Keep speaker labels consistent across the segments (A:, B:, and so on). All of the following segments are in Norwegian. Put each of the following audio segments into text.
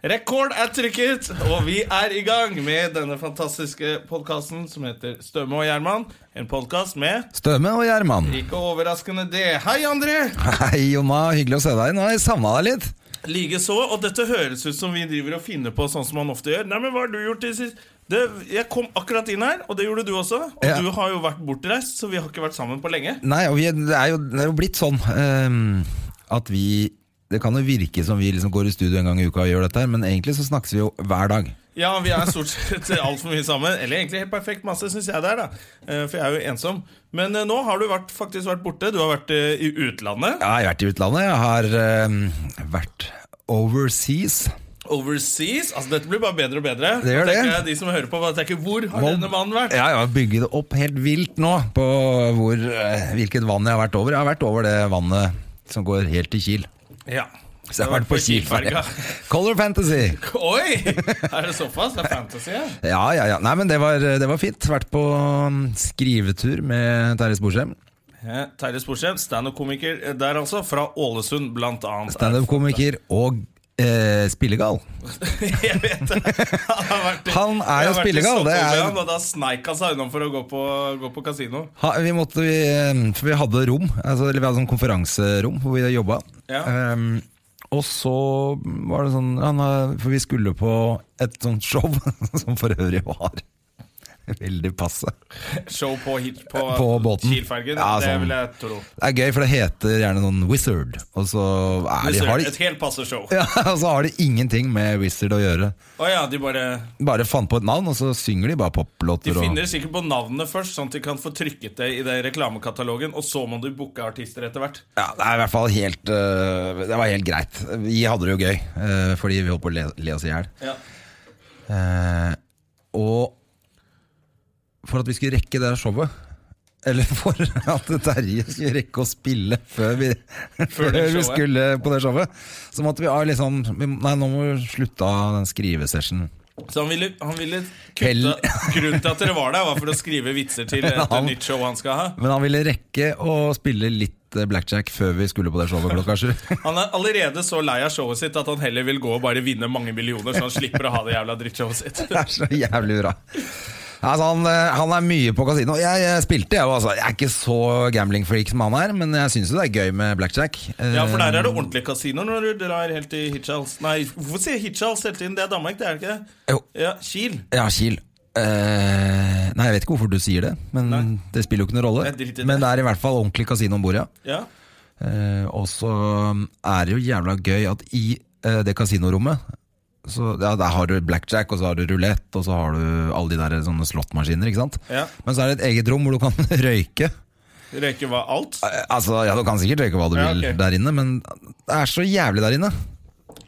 A: Rekord er trykket, og vi er i gang med denne fantastiske podkasten som heter Støme og Gjerman. En podkast med
B: Støme og Gjerman.
A: Ikke overraskende det. Hei, André!
B: Hei, Jonna. Hyggelig å se deg. Nå har jeg savna deg litt.
A: Likeså. Og dette høres ut som vi driver og finner på sånn som man ofte gjør. Nei, men hva har du gjort til sist? Det, jeg kom akkurat inn her, og det gjorde du også. Og
B: Ja.
A: du har jo vært bortreist, så vi har ikke vært sammen på lenge.
B: Nei, og vi, det, er jo, det er jo blitt sånn ehm, at vi Det kan jo virke som vi liksom går i studio en gang i uka og gjør dette, her, men egentlig så snakkes vi jo hver dag.
A: Ja, vi er stort sett altfor mye sammen. Eller egentlig helt perfekt masse, syns jeg det er, da. Eh, For jeg er jo ensom. Men eh, nå har du vært, faktisk vært borte. Du har vært eh, i utlandet.
B: Jeg har vært i utlandet. Jeg har ehm, vært overseas.
A: Overseas. Altså, dette blir bare bedre og bedre.
B: Det
A: Da
B: gjør
A: tenker
B: det.
A: Jeg, de som hører på, bare tenker hvor har denne mannen vært?
B: Ja, jeg har bygget det opp helt vilt nå på hvor, eh, hvilket vann jeg har vært over. Jeg har vært over det vannet som går helt til Kiel.
A: Ja.
B: Så jeg har vært på Kielferga.
A: Kielferga.
B: Color Fantasy.
A: Oi! Er det såpass? Det er fantasy, ja.
B: Ja, ja, ja. Nei, men det var, det var fint. Vært på mm, skrivetur med Terje Sporsem.
A: Eh, Terje Sporsem, standup-komiker eh, der altså, fra Ålesund blant annet.
B: Standup-komiker og eh, spillegal.
A: jeg vet det! Han, har vært, i-
B: Han er jo
A: jeg har vært i
B: spillegal, det
A: Stockholm med
B: er-
A: han, Og da sneik han seg unna for å gå på, gå på kasino.
B: Ha, vi, måtte, vi, eh, for vi hadde rom, altså, eller vi hadde sånn konferanserom hvor vi jobba.
A: Ja.
B: Ehm, og så var det sånn han, har- For vi skulle på et sånt show, som for øvrig var veldig passe.
A: Show på, hit, på,
B: På båten.
A: Kielfergen.
B: Ja,
A: Det
B: sånn.
A: vil jeg tro.
B: Det er gøy, for det heter gjerne noen Wizard, og så er de, har de
A: Et helt passe show. Å
B: ja, og så har de ingenting med Wizard å gjøre.
A: ja, de bare
B: Bare fant på et navn, og så synger de bare
A: De
B: poplåter. og-
A: finner sikkert på navnene først, sånn at de kan få trykket det i den reklamekatalogen, og så må du booke artister etter hvert.
B: Ja, det er i hvert fall helt øh, Det var helt greit. Vi hadde det jo gøy, øh, fordi vi holdt på å le, le oss i hjel.
A: Ja.
B: Eh, og for at vi skulle rekke det her showet eller for at Terje skulle rekke å spille før vi, før
A: det
B: vi
A: showet.
B: skulle på det showet, så måtte vi ha litt sånn vi- Nei, nå må vi slutte av den skrivesessionen.
A: Så han ville, han ville
B: Hell.
A: kutte Grunnen til at dere var der, var for å skrive vitser til et
B: Han-
A: nytt show han skal ha.
B: Men han ville rekke å spille litt eh, blackjack før vi skulle på det showet klokka sju.
A: Han er allerede så lei av showet sitt at han heller vil gå og bare vinne mange millioner, så han slipper å ha det jævla drittshowet sitt.
B: Det er så jævlig bra. Altså, han, eh, han er mye på kasino. Jeg, jeg spilte, jeg. også. jeg er ikke så gambling-freak som han er, men jeg syns jo det er gøy med blackjack. Eh,
A: Ja, for der er det ordentlige kasinoer når du drar helt til Hitchhals. Nei, hvorfor sier jeg Hitchhals hele tiden? Det er Danmark, det er det ikke det?
B: Eh, Jo,
A: Ja, Kiel.
B: ja, Kiel. Eh, nei, jeg vet ikke hvorfor du sier det, men det spiller jo ikke noen
A: Jeg driter i
B: rolle.
A: det.
B: Men det er i hvert fall ordentlig kasino om bord, ja.
A: Ja.
B: Eh, og så er det jo jævla gøy at i eh, det kasinorommet så, ja, Der har du blackjack, og så har du rulett, og så har du alle de der sånne slåttmaskiner, ikke sant.
A: Ja.
B: Men så er det et eget rom hvor du kan røyke.
A: Røyke var alt.
B: Eh, Altså, ja, Du kan sikkert røyke hva du
A: Ja,
B: vil
A: ok.
B: der inne, men det er så jævlig der inne.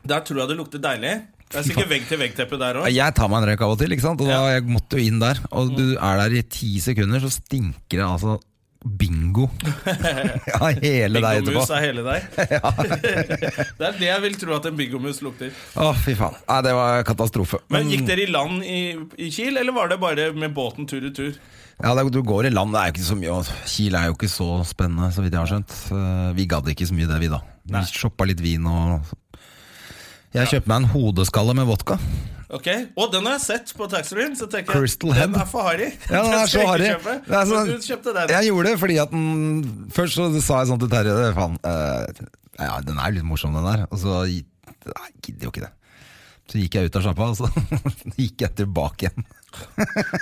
A: Der tror jeg det lukter deilig. Det er sikkert vegg-til-vegg-teppe der òg.
B: Eh, Jeg tar meg en røyk av og til, ikke sant? og da
A: Ja. Mm.
B: jeg måtte jo inn der. Og du er der i ti sekunder, så stinker det altså bingo av hele deg etterpå.
A: Bingomus er hele deg. det er det jeg vil tro at en bingomus lukter.
B: Å, fy faen. Nei, det var katastrofe.
A: Men Gikk dere i land i, i Kiel, eller var det bare med båten tur i tur?
B: Ja, det, er- Du går i land, det er jo ikke så mye og Kiel er jo ikke så spennende, så vidt jeg har skjønt. Eh, Vi gadd ikke så mye det, vi da.
A: Nei.
B: Vi shoppa litt vin og Jeg kjøpte meg en hodeskalle med vodka.
A: Ok, Og den har jeg sett på taxfree-en. Så tenker
B: Crystal
A: jeg,
B: Head.
A: den er for harry.
B: Ja, den er så
A: skal jeg
B: harry.
A: ikke kjøpe.
B: Det er sånn-
A: Men du kjøpte den.
B: Jeg gjorde det fordi at den Først så sa jeg sånn til Terje «Det er Faen, eh, ja, den er jo litt morsom, den der. Og så gi- Nei, jeg gidder jo ikke det. Så gikk jeg ut av sjappa, og så gikk jeg tilbake igjen.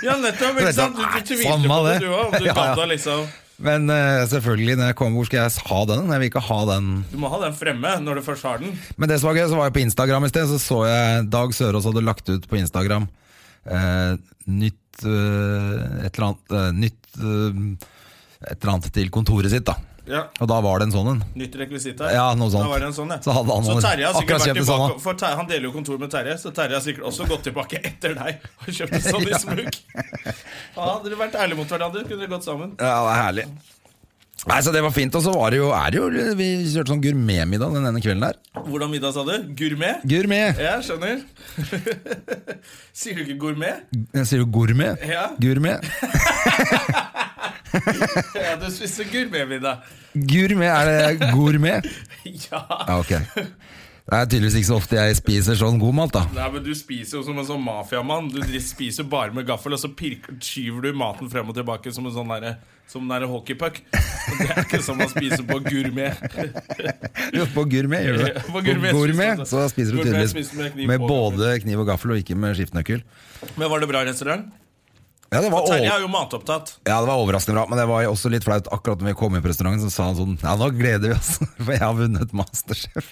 A: Ja, nettopp.
B: Du
A: ikke
B: vet
A: sant? Du,
B: da,
A: du
B: samme
A: tvilte på det,
B: det.
A: du òg. Om du
B: Ja,
A: ja,
B: ja.
A: da liksom
B: Men eh, selvfølgelig, når jeg kom, hvor skal jeg ha den? Jeg vil ikke ha den.
A: Du må ha den fremme når du først har den.
B: Men det som var gøy, så var jeg på Instagram i sted, så så jeg Dag Sørås hadde lagt ut på Instagram eh, nytt eh, Et eller annet eh, Nytt eh, Et eller annet til kontoret sitt, da.
A: Ja,
B: Og da var det en sånn en.
A: Nytt rekvisitt her.
B: Ja, noe sånt.
A: Da var det en sånn, ja.
B: Så hadde han
A: Så Terje har
B: akkurat
A: sikkert vært
B: kjøpt det samme.
A: tilbake For Terje, Han deler jo kontor med Terje, så Terje har sikkert også gått tilbake etter deg og kjøpt en sånn i smug. Ja, hadde dere vært ærlige mot hverandre, kunne dere gått sammen.
B: Ja, det er herlig. Nei, så Det var fint. Og så var det jo, er det jo Vi kjørte sånn gourmetmiddag den ene kvelden der.
A: Hvordan middag sa du? Gourmet?
B: Gourmet!
A: Ja, skjønner. Sier du ikke gourmet?
B: Jeg sier jo gourmet.
A: Ja,
B: Gourmet
A: ja du spiste gourmetmiddag.
B: Gourmet, er det gourmet?
A: Ja.
B: Ja, ok. Det er tydeligvis ikke så ofte jeg spiser sånn god mat, da.
A: Nei, men Du spiser jo som en sånn mafiamann. Du dri- spiser bare med gaffel, og så pirker, skyver du maten frem og tilbake som en sånn derre som den der hockeypuck. Og Det er ikke som å spise på gourmet.
B: Jo, På gourmet gjør du det.
A: På
B: På
A: gourmet
B: gourmet
A: spiser du
B: så
A: det.
B: spiser du
A: Gourmet
B: tydeligvis
A: spiser med kniv
B: med
A: på.
B: både kniv og gaffel, og ikke med skiftenøkkel.
A: Men var det bra restaurant?
B: Ja, det var, over...
A: Terje
B: ja,
A: er jo matopptatt.
B: det var overraskende bra, men det var også litt flaut. Akkurat når vi kom inn på restauranten, så sa han sånn Ja, nå gleder vi oss, for jeg har vunnet Masterchef.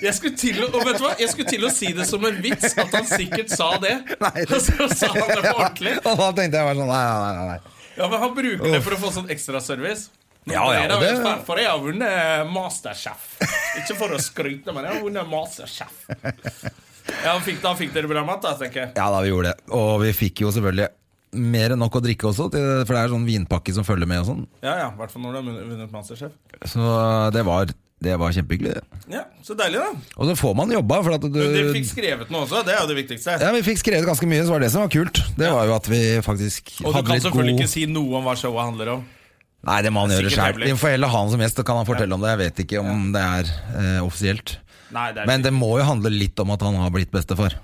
A: Jeg skulle til å, og vet du hva? Jeg skulle til å si det som en vits, at han sikkert sa det.
B: Nei.
A: Og så sa han det på
B: Ja,
A: ordentlig.
B: og da tenkte jeg bare sånn Nei, nei, nei. nei.
A: Ja, men han bruker det for å få sånn ekstraservice.
B: Ja, ja,
A: det...
B: det-
A: For jeg har vunnet Masterchef. Ikke for å skryte, men jeg har vunnet Masterchef. Ja, han fikk, da fikk dere bra mat, da, tenker jeg.
B: Ja da, vi gjorde det. Og vi fikk jo selvfølgelig mer enn nok å drikke også, til- for det er sånn vinpakke som følger med og sånn.
A: Ja, ja, i hvert fall når du har vunnet- vunnet Masterchef.
B: Så det var, det var kjempehyggelig. det.
A: Ja, Så deilig, da.
B: Og så får man jobba, for at du
A: Dere fikk skrevet noe også. Det er jo det viktigste.
B: Ja, Vi fikk skrevet ganske mye, så var det det som var kult. Det var jo at vi faktisk
A: Og du
B: hadde
A: kan
B: litt
A: selvfølgelig
B: god
A: ikke si noe om hva showet handler om.
B: Nei, det må han
A: Det er
B: gjøre
A: sikkert
B: sjøl. Vi får heller ha han som gjest, så kan han fortelle om det. Jeg vet ikke om det er eh, offisielt.
A: Nei, det er
B: Men det må jo handle litt om at han har blitt bestefar.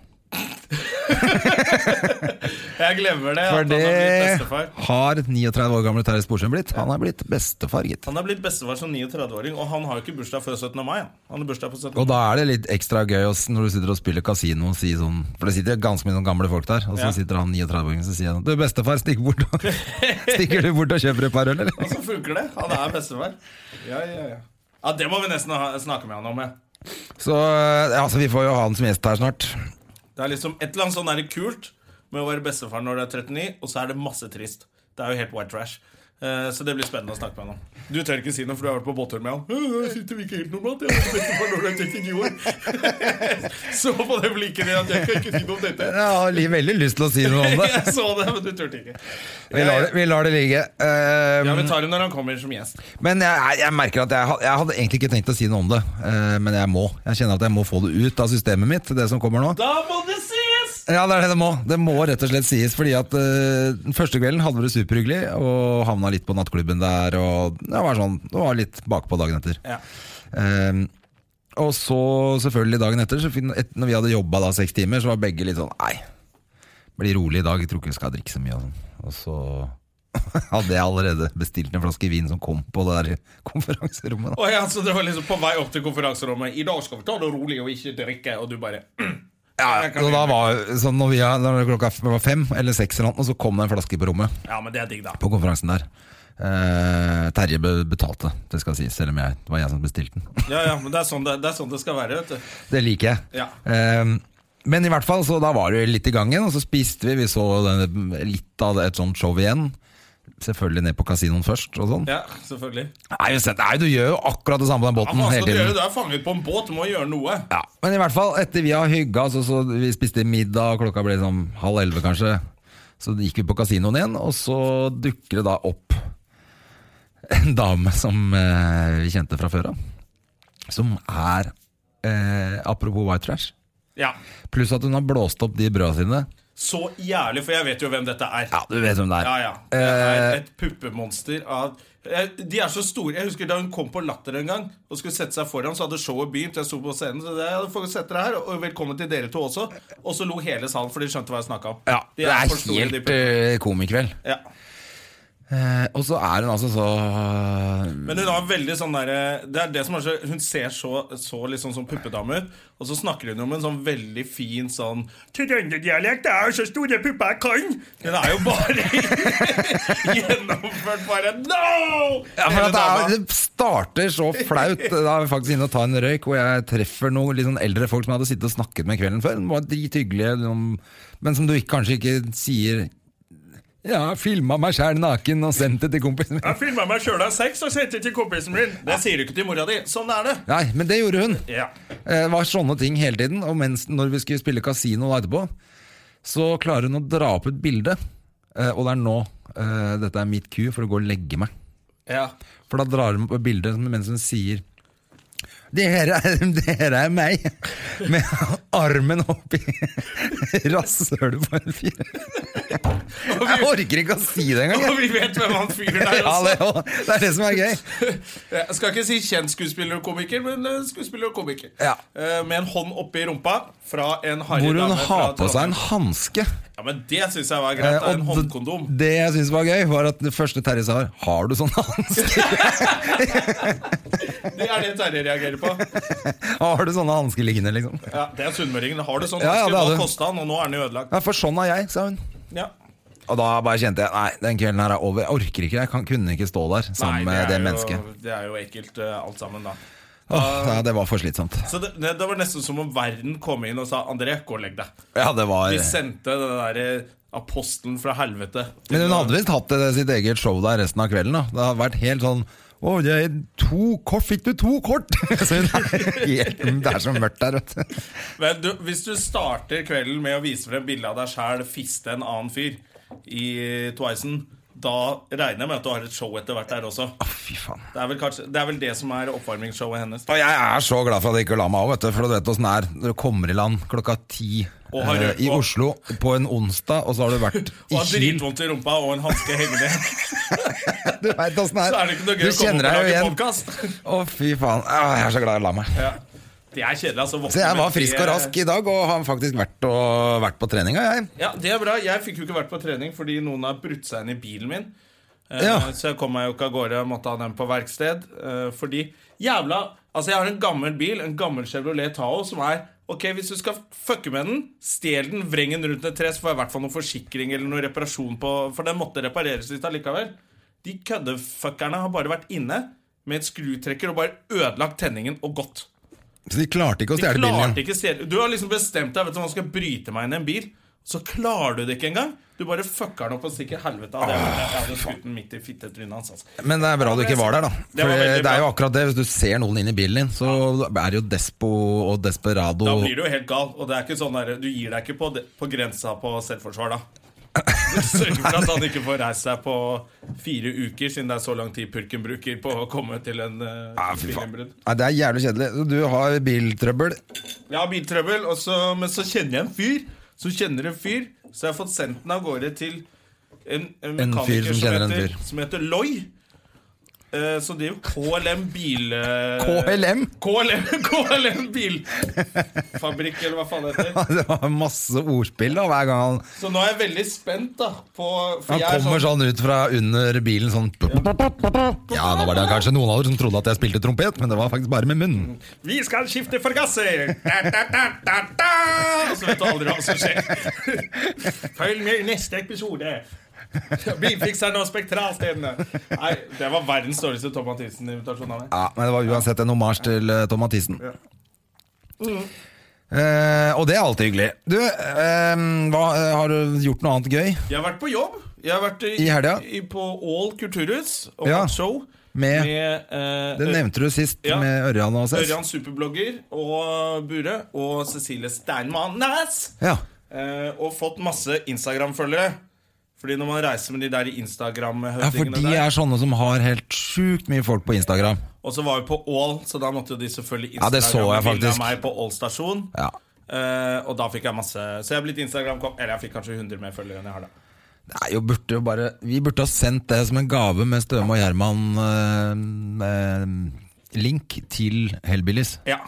A: Jeg glemmer det.
B: For
A: at
B: det
A: han har blitt bestefar.
B: har 39 år gamle Terje Sporsem blitt. Han er blitt bestefar, gitt.
A: Han har blitt bestefar som 39-åring, og han har jo ikke bursdag før 17. mai. han. Han har bursdag på 17.
B: Og da er det litt ekstra gøy å s- når du sitter og spiller kasino og sier sånn For det sitter jo ganske mye sånn gamle folk der, og så
A: Ja.
B: sitter han 39-åringen og sier han Du, bestefar, stikk bort og Stikker du bort og kjøper et par øl, eller?
A: Og så funker det. Han er bestefar. Ja, ja, ja. ja, det må vi nesten ha, snakke med han om. Ja.
B: Så ja, altså, vi får jo ha han som gjest her snart.
A: Det er liksom et eller annet sånn der kult med å være bestefar når du er 39, og så er det masse trist. Det er jo helt white trash. Eh, Så det blir spennende å snakke med han om. Du tør ikke si noe, for du har vært på båttur med han. «Øh, Jeg sitter ikke helt normalt, jeg er bestefar når du er 39 år. Så på det blikket ditt at jeg kan ikke si noe om dette.
B: Jeg har li- veldig lyst til å si noe om det.
A: Jeg så det, men du turte ikke.
B: Vi lar det, vi lar det ligge. Eh,
A: Ja, Vi tar det når han kommer som gjest.
B: men jeg, jeg- jeg merker at jeg, ha- jeg hadde egentlig ikke tenkt å si noe om det, eh, men jeg må. Jeg kjenner at jeg må få det ut av systemet mitt, det som kommer nå.
A: Da må det sies!
B: Ja, det er det det må. Det må rett og slett sies, fordi at eh, den første kvelden hadde vi det superhyggelig, og havna litt på nattklubben der, og det var sånn, det var litt bakpå dagen etter.
A: Ja.
B: Ehm, og så selvfølgelig dagen etter, så fin- et, når vi hadde jobba da seks timer, så var begge litt sånn Nei, bli rolig i dag, jeg tror ikke vi skal drikke så mye. Og, sånn. og så hadde jeg allerede bestilt en flaske vin som kom på det der konferanserommet. Da.
A: Å ja, så det var liksom på vei opp til konferanserommet. I dag skal vi ta det rolig og ikke drikke. Og du bare
B: Ja, så da var så når, vi, når klokka f- var fem eller seks, eller noe, så kom det en flaske på rommet
A: Ja, men det er digg, da.
B: på konferansen der. Eh, Terje be- betalte, det skal sies, selv om jeg, det var jeg som bestilte den.
A: Ja, ja, men det er sånn det, det, er sånn det skal være, vet du.
B: Det liker jeg.
A: Ja.
B: Ehm, men i hvert fall, så da var det jo litt i gangen, og så spiste vi. Vi så den, litt av et sånt show igjen. Selvfølgelig ned på kasinoen først. og sånn
A: Ja, selvfølgelig.
B: Nei, men se- nei, du gjør jo akkurat det samme på den
A: Ja,
B: båten
A: men hva
B: hele
A: skal du gjøre?
B: tiden.
A: Du er fanget på en båt, du må gjøre noe.
B: Ja. Men i hvert fall, etter vi har hygga, så, så vi spiste middag, og klokka ble sånn halv elleve kanskje. Så gikk vi på kasinoen igjen, og så dukker det da opp en dame som eh, vi kjente fra før av. Som er, eh, apropos white trash
A: Ja,
B: Pluss at hun har blåst opp de brøda sine.
A: Så jævlig, for jeg vet jo hvem dette er.
B: Ja, du vet hvem det er.
A: Ja, ja. Det er
B: Eh,
A: et puppemonster av Eh, De er så store. Jeg husker da hun kom på Latter en gang og skulle sette seg foran, så hadde showet begynt. Jeg sto på scenen, så jeg hadde fått sette dere her, og velkommen til dere to også. Og så lo hele salen, for de skjønte hva jeg snakka om.
B: Ja,
A: De
B: det er
A: for store, de
B: helt
A: puppene.
B: uh, komikveld.
A: ja.
B: Eh, og så er hun altså så
A: Men hun har veldig sånn der, Det er det som er så Hun ser så, så liksom som puppedame ut, og så snakker hun om en sånn veldig fin sånn Trønderdialekt det er jo så store pupper jeg kan! Men det er jo bare gjennomført bare No!
B: ja, for
A: Hele
B: at det,
A: dama.
B: er, det starter så flaut. Da er vi faktisk inne og tar en røyk, og jeg treffer noen litt sånn eldre folk som jeg hadde sittet og snakket med kvelden før. De var drithyggelige, liksom, men som du ikke, kanskje ikke sier Ja, filma meg sjæl naken og sendt det til kompisen min.
A: Jeg filma meg sjøl av sex og sendte til kompisen min. Det sier du ikke til mora di. Sånn er det.
B: Nei, men det gjorde hun.
A: Ja.
B: Eh, Det var sånne ting hele tiden. Og mens, når vi skulle spille kasino da etterpå, så klarer hun å dra opp et bilde. Eh, Og det er nå eh, dette er mitt ku for å gå og legge meg.
A: ja.
B: For da drar hun opp et bilde som- mens hun sier Det her, er, det her er meg, med armen opp i rasshølet på en fyr. Jeg orker ikke å si det engang. jeg.
A: Og vi vet hvem han fyren er
B: Ja,
A: også.
B: det, er jo- det er det som er gøy.
A: Jeg skal ikke si kjent skuespiller og komiker, men eh, skuespiller og komiker.
B: Ja.
A: Eh, Med en hånd oppi rumpa fra en harry
B: Hvor hun
A: dame. fra
B: har på seg en
A: Trondheim.
B: hanske. Eh,
A: Ja, men Det syns jeg var greit. da, en håndkondom.
B: det jeg syntes var gøy, var at det første Terje sa, har du sånn hanske?
A: Det er det Terje reagerer på.
B: Har du sånne hansker liggende, liksom?
A: Ja, det er sunnmøringen. Har du sånn
B: Ja, ja,
A: hanske?
B: det hadde
A: Hva
B: hun.
A: kosta han? Og nå er den jo ødelagt.
B: Ja, for sånn er jeg, sa hun.
A: Ja.
B: Og da bare kjente jeg nei, den kvelden her er over. Jeg orker ikke, jeg kan, kunne ikke stå der sammen
A: Nei,
B: med det
A: er
B: mennesket.
A: Jo, det er jo ekkelt, eh, alt sammen, da.
B: Åh, ja, det var for slitsomt.
A: Så det, det, det var nesten som om verden kom inn og sa André, gå og legg deg.
B: Ja, det var
A: De sendte den derre apostelen fra helvete.
B: Men hun hadde visst hatt eh, sitt eget show der resten av kvelden. da Det har vært helt sånn Å, jeg, to kort, fikk du to kort?! Så hun er helt, det er så mørkt der, vet du.
A: Men du, hvis du starter kvelden med å vise frem bilde av deg sjæl fiste en annen fyr i Twicen, da regner jeg med at du har et show etter hvert der også.
B: Å, fy faen.
A: Det er vel, kanskje, det, er vel det som er oppvarmingsshowet hennes.
B: Og jeg er så glad for at jeg ikke la meg av, vet du. For du vet åssen det er når du kommer i land klokka ti
A: Og har
B: eh,
A: røkt
B: i
A: på.
B: Oslo på en onsdag, og så har du vært
A: Og
B: i
A: har
B: Kiel.
A: dritvondt i rumpa og en hanske hengende.
B: Du vet åssen
A: Så
B: det
A: er det ikke noe gøy
B: er. Du
A: å komme på
B: kjenner deg jo
A: lag i
B: igjen.
A: podkast.
B: Å, fy faen. Å, jeg er så glad jeg la meg.
A: Ja. Det er kjedelig, altså. Våkne
B: Så jeg var
A: med
B: frisk
A: det-
B: og rask i dag, og har faktisk vært, og, vært på treninga, jeg.
A: Ja, det er bra. Jeg fikk jo ikke vært på trening fordi noen har brutt seg inn i bilen min. Eh,
B: Ja.
A: Så jeg kom meg jo ikke av gårde. Jeg Måtte ha den på verksted. eh, Fordi jævla Altså, jeg har en gammel bil, en gammel Chevrolet Tao, som er Ok, hvis du skal fucke med den, stjel den, vreng den rundt et tre, så får jeg i hvert fall noe forsikring eller noe reparasjon på For den måtte repareres litt allikevel. De køddefuckerne har bare vært inne med et skrutrekker og bare ødelagt tenningen og gått.
B: Så de klarte ikke å
A: De
B: stjele bilen
A: klarte
B: igjen.
A: ikke stjele Du har liksom bestemt deg Vet du hva, nå skal jeg bryte meg inn i en bil Så klarer du det ikke engang Du bare fucker den opp og stikker helvete av det
B: Ah,
A: Jeg hadde skutt den midt i fittetrynet hans altså.
B: Men det er bra du ikke var der, da.
A: Det var
B: For eh,
A: veldig
B: det er jo
A: bra.
B: akkurat det. Hvis du ser noen inn i bilen din, så er det jo despo og desperado.
A: Da blir du jo helt gal Og det er ikke sånn der Du gir deg ikke på, det- på grensa på selvforsvar da Du sørger for at han ikke får reise seg på fire uker Siden det er så lang tid purken bruker På å komme til en eh,
B: Ja, Ah, fy faen.
A: bilinbrudd
B: Nei, det er jævlig kjedelig. Så Du har biltrøbbel.
A: Jeg har biltrøbbel, og så, men så kjenner jeg en fyr. Så kjenner en fyr, så jeg har fått sendt den av gårde til en, en
B: fyr
A: mekaniker
B: som
A: som,
B: kjenner en
A: heter,
B: fyr.
A: som heter Loy. Eh, Så det er jo KLM bil... eh,
B: KLM!
A: KLM, KLM bilfabrikk, eller hva faen det heter.
B: Det var masse ordspill da hver gang han,
A: Så nå er jeg veldig spent, da. På, for
B: han
A: jeg er
B: kommer
A: sånn,
B: sånn ut fra under bilen sånn Ja, nå var det kanskje noen av dere som trodde at jeg spilte trompet, men det var faktisk bare med munnen.
A: Vi skal skifte forgasser! Da, da, da, da, da. Og Så vet du aldri hva som skjer. Følg med i neste episode. Bilfikseren og spektralstedene. Nei, Det var verdens dårligste Tom Mathisen-invitasjon av meg.
B: Ja, men det var uansett en hommage til eh, Tom Mathisen. Eh, og det er alltid hyggelig. Du, eh, hva, eh, har du gjort noe annet gøy?
A: Jeg har vært på jobb. Jeg har vært i,
B: I helga?
A: i- på Ål kulturhus og
B: Ja.
A: hatt show
B: Med-
A: eh,
B: Det nevnte du sist
A: Ja.
B: med Ørjan og Sess.
A: Ørjan Superblogger og Bure og Cecilie Steinmann Næss.
B: Ja.
A: Eh, og fått masse Instagram-følgere. Fordi når man reiser med de der
B: ja, for
A: Instagram-høvdingene
B: de
A: der
B: er sånne som har helt sjukt mye folk på Instagram.
A: Og så var vi på Ål, så da måtte jo de selvfølgelig
B: Ja, det så jeg
A: Instagram-bilde av
B: faktisk.
A: meg på Ål stasjon.
B: Ja.
A: Eh, og da fikk jeg masse Så jeg er blitt instagram Eller jeg fikk kanskje 100 mer følgere enn jeg har da.
B: Det er jo burde jo bare Vi burde ha sendt det som en gave med Støme og Gjerman eh, eh, link til Hellbillies.
A: Ja.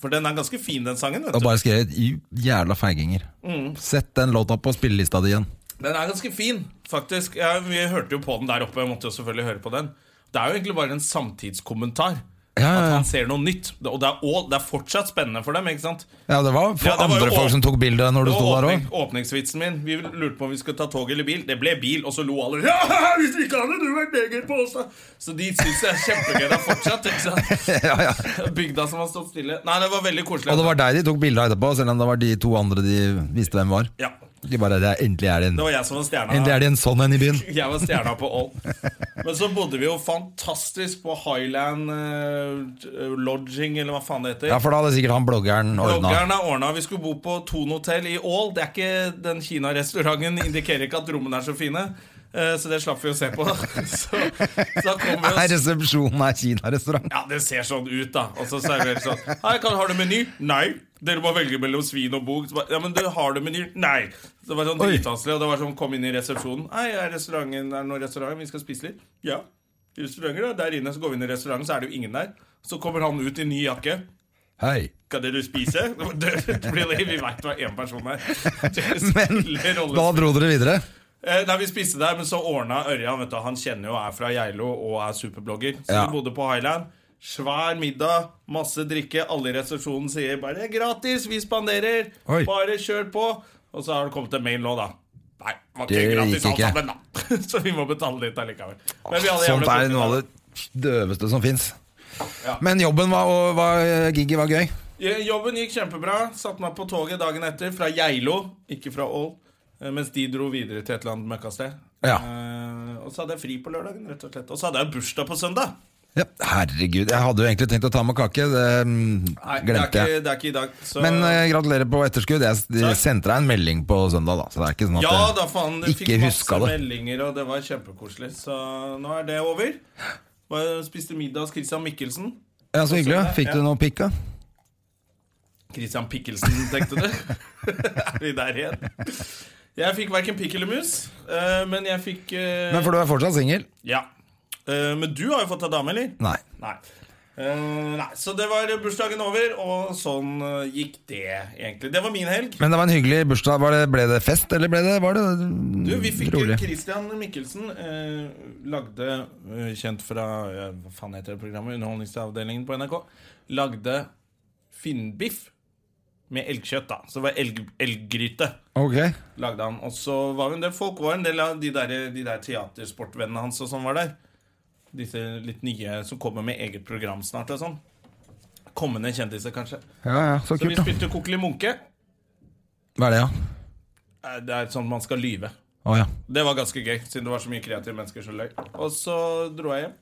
A: For den er ganske fin, den sangen. Vet
B: Og
A: du.
B: bare skrevet "I jævla feiginger'.
A: Mm.
B: Sett den låta på spillelista di igjen.
A: Den er ganske fin, faktisk. Ja, vi hørte jo på den der oppe. Jeg måtte jo selvfølgelig høre på den. Det er jo egentlig bare en samtidskommentar. At
B: Ja, ja, ja.
A: han ser noe nytt. Og det er, Ål. det er fortsatt spennende for dem, ikke sant?
B: ja det var for
A: Ja, det var jo
B: andre folk
A: åp-
B: som tok bilde når du
A: Det
B: sto
A: var
B: der
A: åpning,
B: òg.
A: åpningsvitsen min. Vi lurte på om vi skulle ta tog eller bil. Det ble bil, og så lo alle. Ja, hvis vi ikke hadde du vært neger på oss, da! Så de syns det er kjempegøy. Det er fortsatt ikke sant?
B: ja, ja.
A: bygda som har stått stille. Nei, det var veldig koselig.
B: Og det var deg de tok bilde av etterpå, selv om det var de to andre de visste hvem var.
A: Ja,
B: De bare "Det er- Endelig er det en,
A: det var jeg som var
B: endelig
A: stjerna.
B: er det en sånn en i byen.
A: Jeg var stjerna på Ål. Men så bodde vi jo fantastisk på Highland eh, Lodging, eller hva faen det heter.
B: Ja, for da hadde sikkert han bloggeren ordna.
A: Bloggeren er ordna. Vi skulle bo på Thon hotell i Ål. Det er ikke Den Kina-restauranten indikerer ikke at rommene er så fine. Eh, Så det slapp vi å se på. Så, så da kom vi
B: Nei,
A: oss
B: resepsjonen er Kina-restaurant.
A: Ja, det ser sånn ut, da. Og så serverer de sånn Hei, kan, har du meny? Nei. Dere må velge mellom svin og bok. Så ba, Ja, men du, har du meny? Nei. Så det var sånn
B: Oi.
A: dritvanskelig. Og det var sånn, kom inn i resepsjonen. Hei, er restauranten Er det noen restaurant? Vi skal spise litt? Ja. Restauranter, da. Der inne. Så går vi inn i restauranten, så er det jo ingen der. Så kommer han ut i ny jakke.
B: Hei.
A: Skal dere spise? Det blir- Vi veit hva én person er. Det
B: Men
A: spiller rolle.
B: da dro dere videre.
A: Eh, nei, Vi spiste der, men så ordna Ørjan vet du, Han kjenner jo er fra Geilo og er superblogger. Så
B: Ja.
A: vi bodde på Highland. Svær middag, masse drikke. Alle i resepsjonen sier bare 'det er gratis, vi spanderer'.
B: Oi.
A: Bare kjør på. Og så har det kommet en mail nå, da. Nei, det var ikke
B: Det
A: gratis
B: gikk
A: alt
B: ikke.
A: sammen, da. så vi må betale litt allikevel. Men vi hadde
B: Sånt
A: jævlig
B: er noe av
A: fint, da.
B: det døveste som fins.
A: Ja.
B: Men jobben var, og var, eh, gigget var gøy.
A: Je- Jobben gikk kjempebra. Satte meg på toget dagen etter fra Geilo, ikke fra Ål. eh, Mens de dro videre til et eller annet møkkasted.
B: Ja.
A: Eh, og så hadde jeg fri på lørdagen, rett og slett. Og så hadde jeg bursdag på søndag.
B: Ja, herregud, jeg hadde jo egentlig tenkt å ta med kake. Det mm,
A: Nei, det, er
B: glemte jeg.
A: ikke, det er ikke i dag. Så,
B: Men eh, gratulerer på etterskudd. Jeg de
A: Takk.
B: sendte deg en melding på søndag, da. Så det er ikke sånn at
A: ja
B: det-
A: da, faen. Du fikk
B: ikke
A: masse
B: huska det.
A: meldinger, og det var kjempekoselig. Så nå er det over. Var- Spiste middag hos Christian Mikkelsen.
B: Ja, Så hyggelig.
A: søndag,
B: Fikk du
A: ja.
B: noe pikk, da?
A: Christian Pikkelsen, tenkte du? er vi der igjen? Jeg fikk verken pikk eller mus, eh, men jeg fikk eh,
B: Men for du er fortsatt singel?
A: Ja. Eh, Men du har jo fått deg dame, eller?
B: Nei.
A: Nei. Eh, nei. Så det var bursdagen over, og sånn eh, gikk det, egentlig. Det var min helg.
B: Men det var en hyggelig bursdag. Var det, ble det fest, eller ble det, var det
A: Du, vi fikk
B: rolig?
A: Christian Mikkelsen eh, lagde, eh, kjent fra eh, Hva faen heter det programmet? Underholdningsavdelingen på NRK. Lagde finnbiff med elgkjøtt, da. Så det var elg, elggryte.
B: Ok.
A: Lagde han. Og så var vi en del folk. Var en del av de der, de der teatersportvennene hans og sånn var der. Disse litt nye som kommer med eget program snart og sånn. Kommende kjendiser, kanskje.
B: Ja, ja, så
A: Så vi
B: kult, da.
A: spilte Kokkeli Munke.
B: Hva er det, ja?
A: Eh, Det er sånn man skal lyve.
B: Å ja.
A: Det var ganske gøy, siden det var så mye kreative mennesker som løy. Og så dro jeg hjem.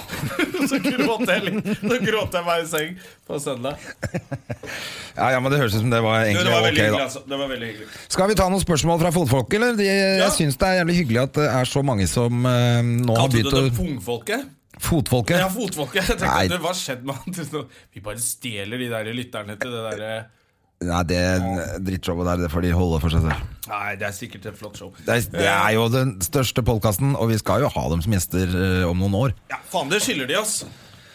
A: så gråt jeg litt. Så gråt jeg meg i seng på søndag.
B: Ja, ja, men det høres ut som det var
A: Jo,
B: egentlig
A: det var veldig
B: ok,
A: hyggelig,
B: da.
A: altså. Det var veldig hyggelig.
B: Skal vi ta noen spørsmål fra fotfolket, eller? De,
A: Ja.
B: Jeg syns det er jævlig hyggelig at det er så mange som eh, nå har
A: Kalte du
B: begynt å
A: det pungfolket?
B: Fotfolket?
A: Ja, fotfolket. Jeg tenkte,
B: Nei.
A: du, Hva skjedde med han? til nå? Vi bare stjeler de der eh, lytterne til det derre
B: Nei, det drittshowet der, det får de holde for seg selv.
A: Nei, det er sikkert et flott show.
B: Det er, det er jo den største podkasten, og vi skal jo ha dem som gjester eh, om noen år.
A: Ja, faen, det skylder de oss.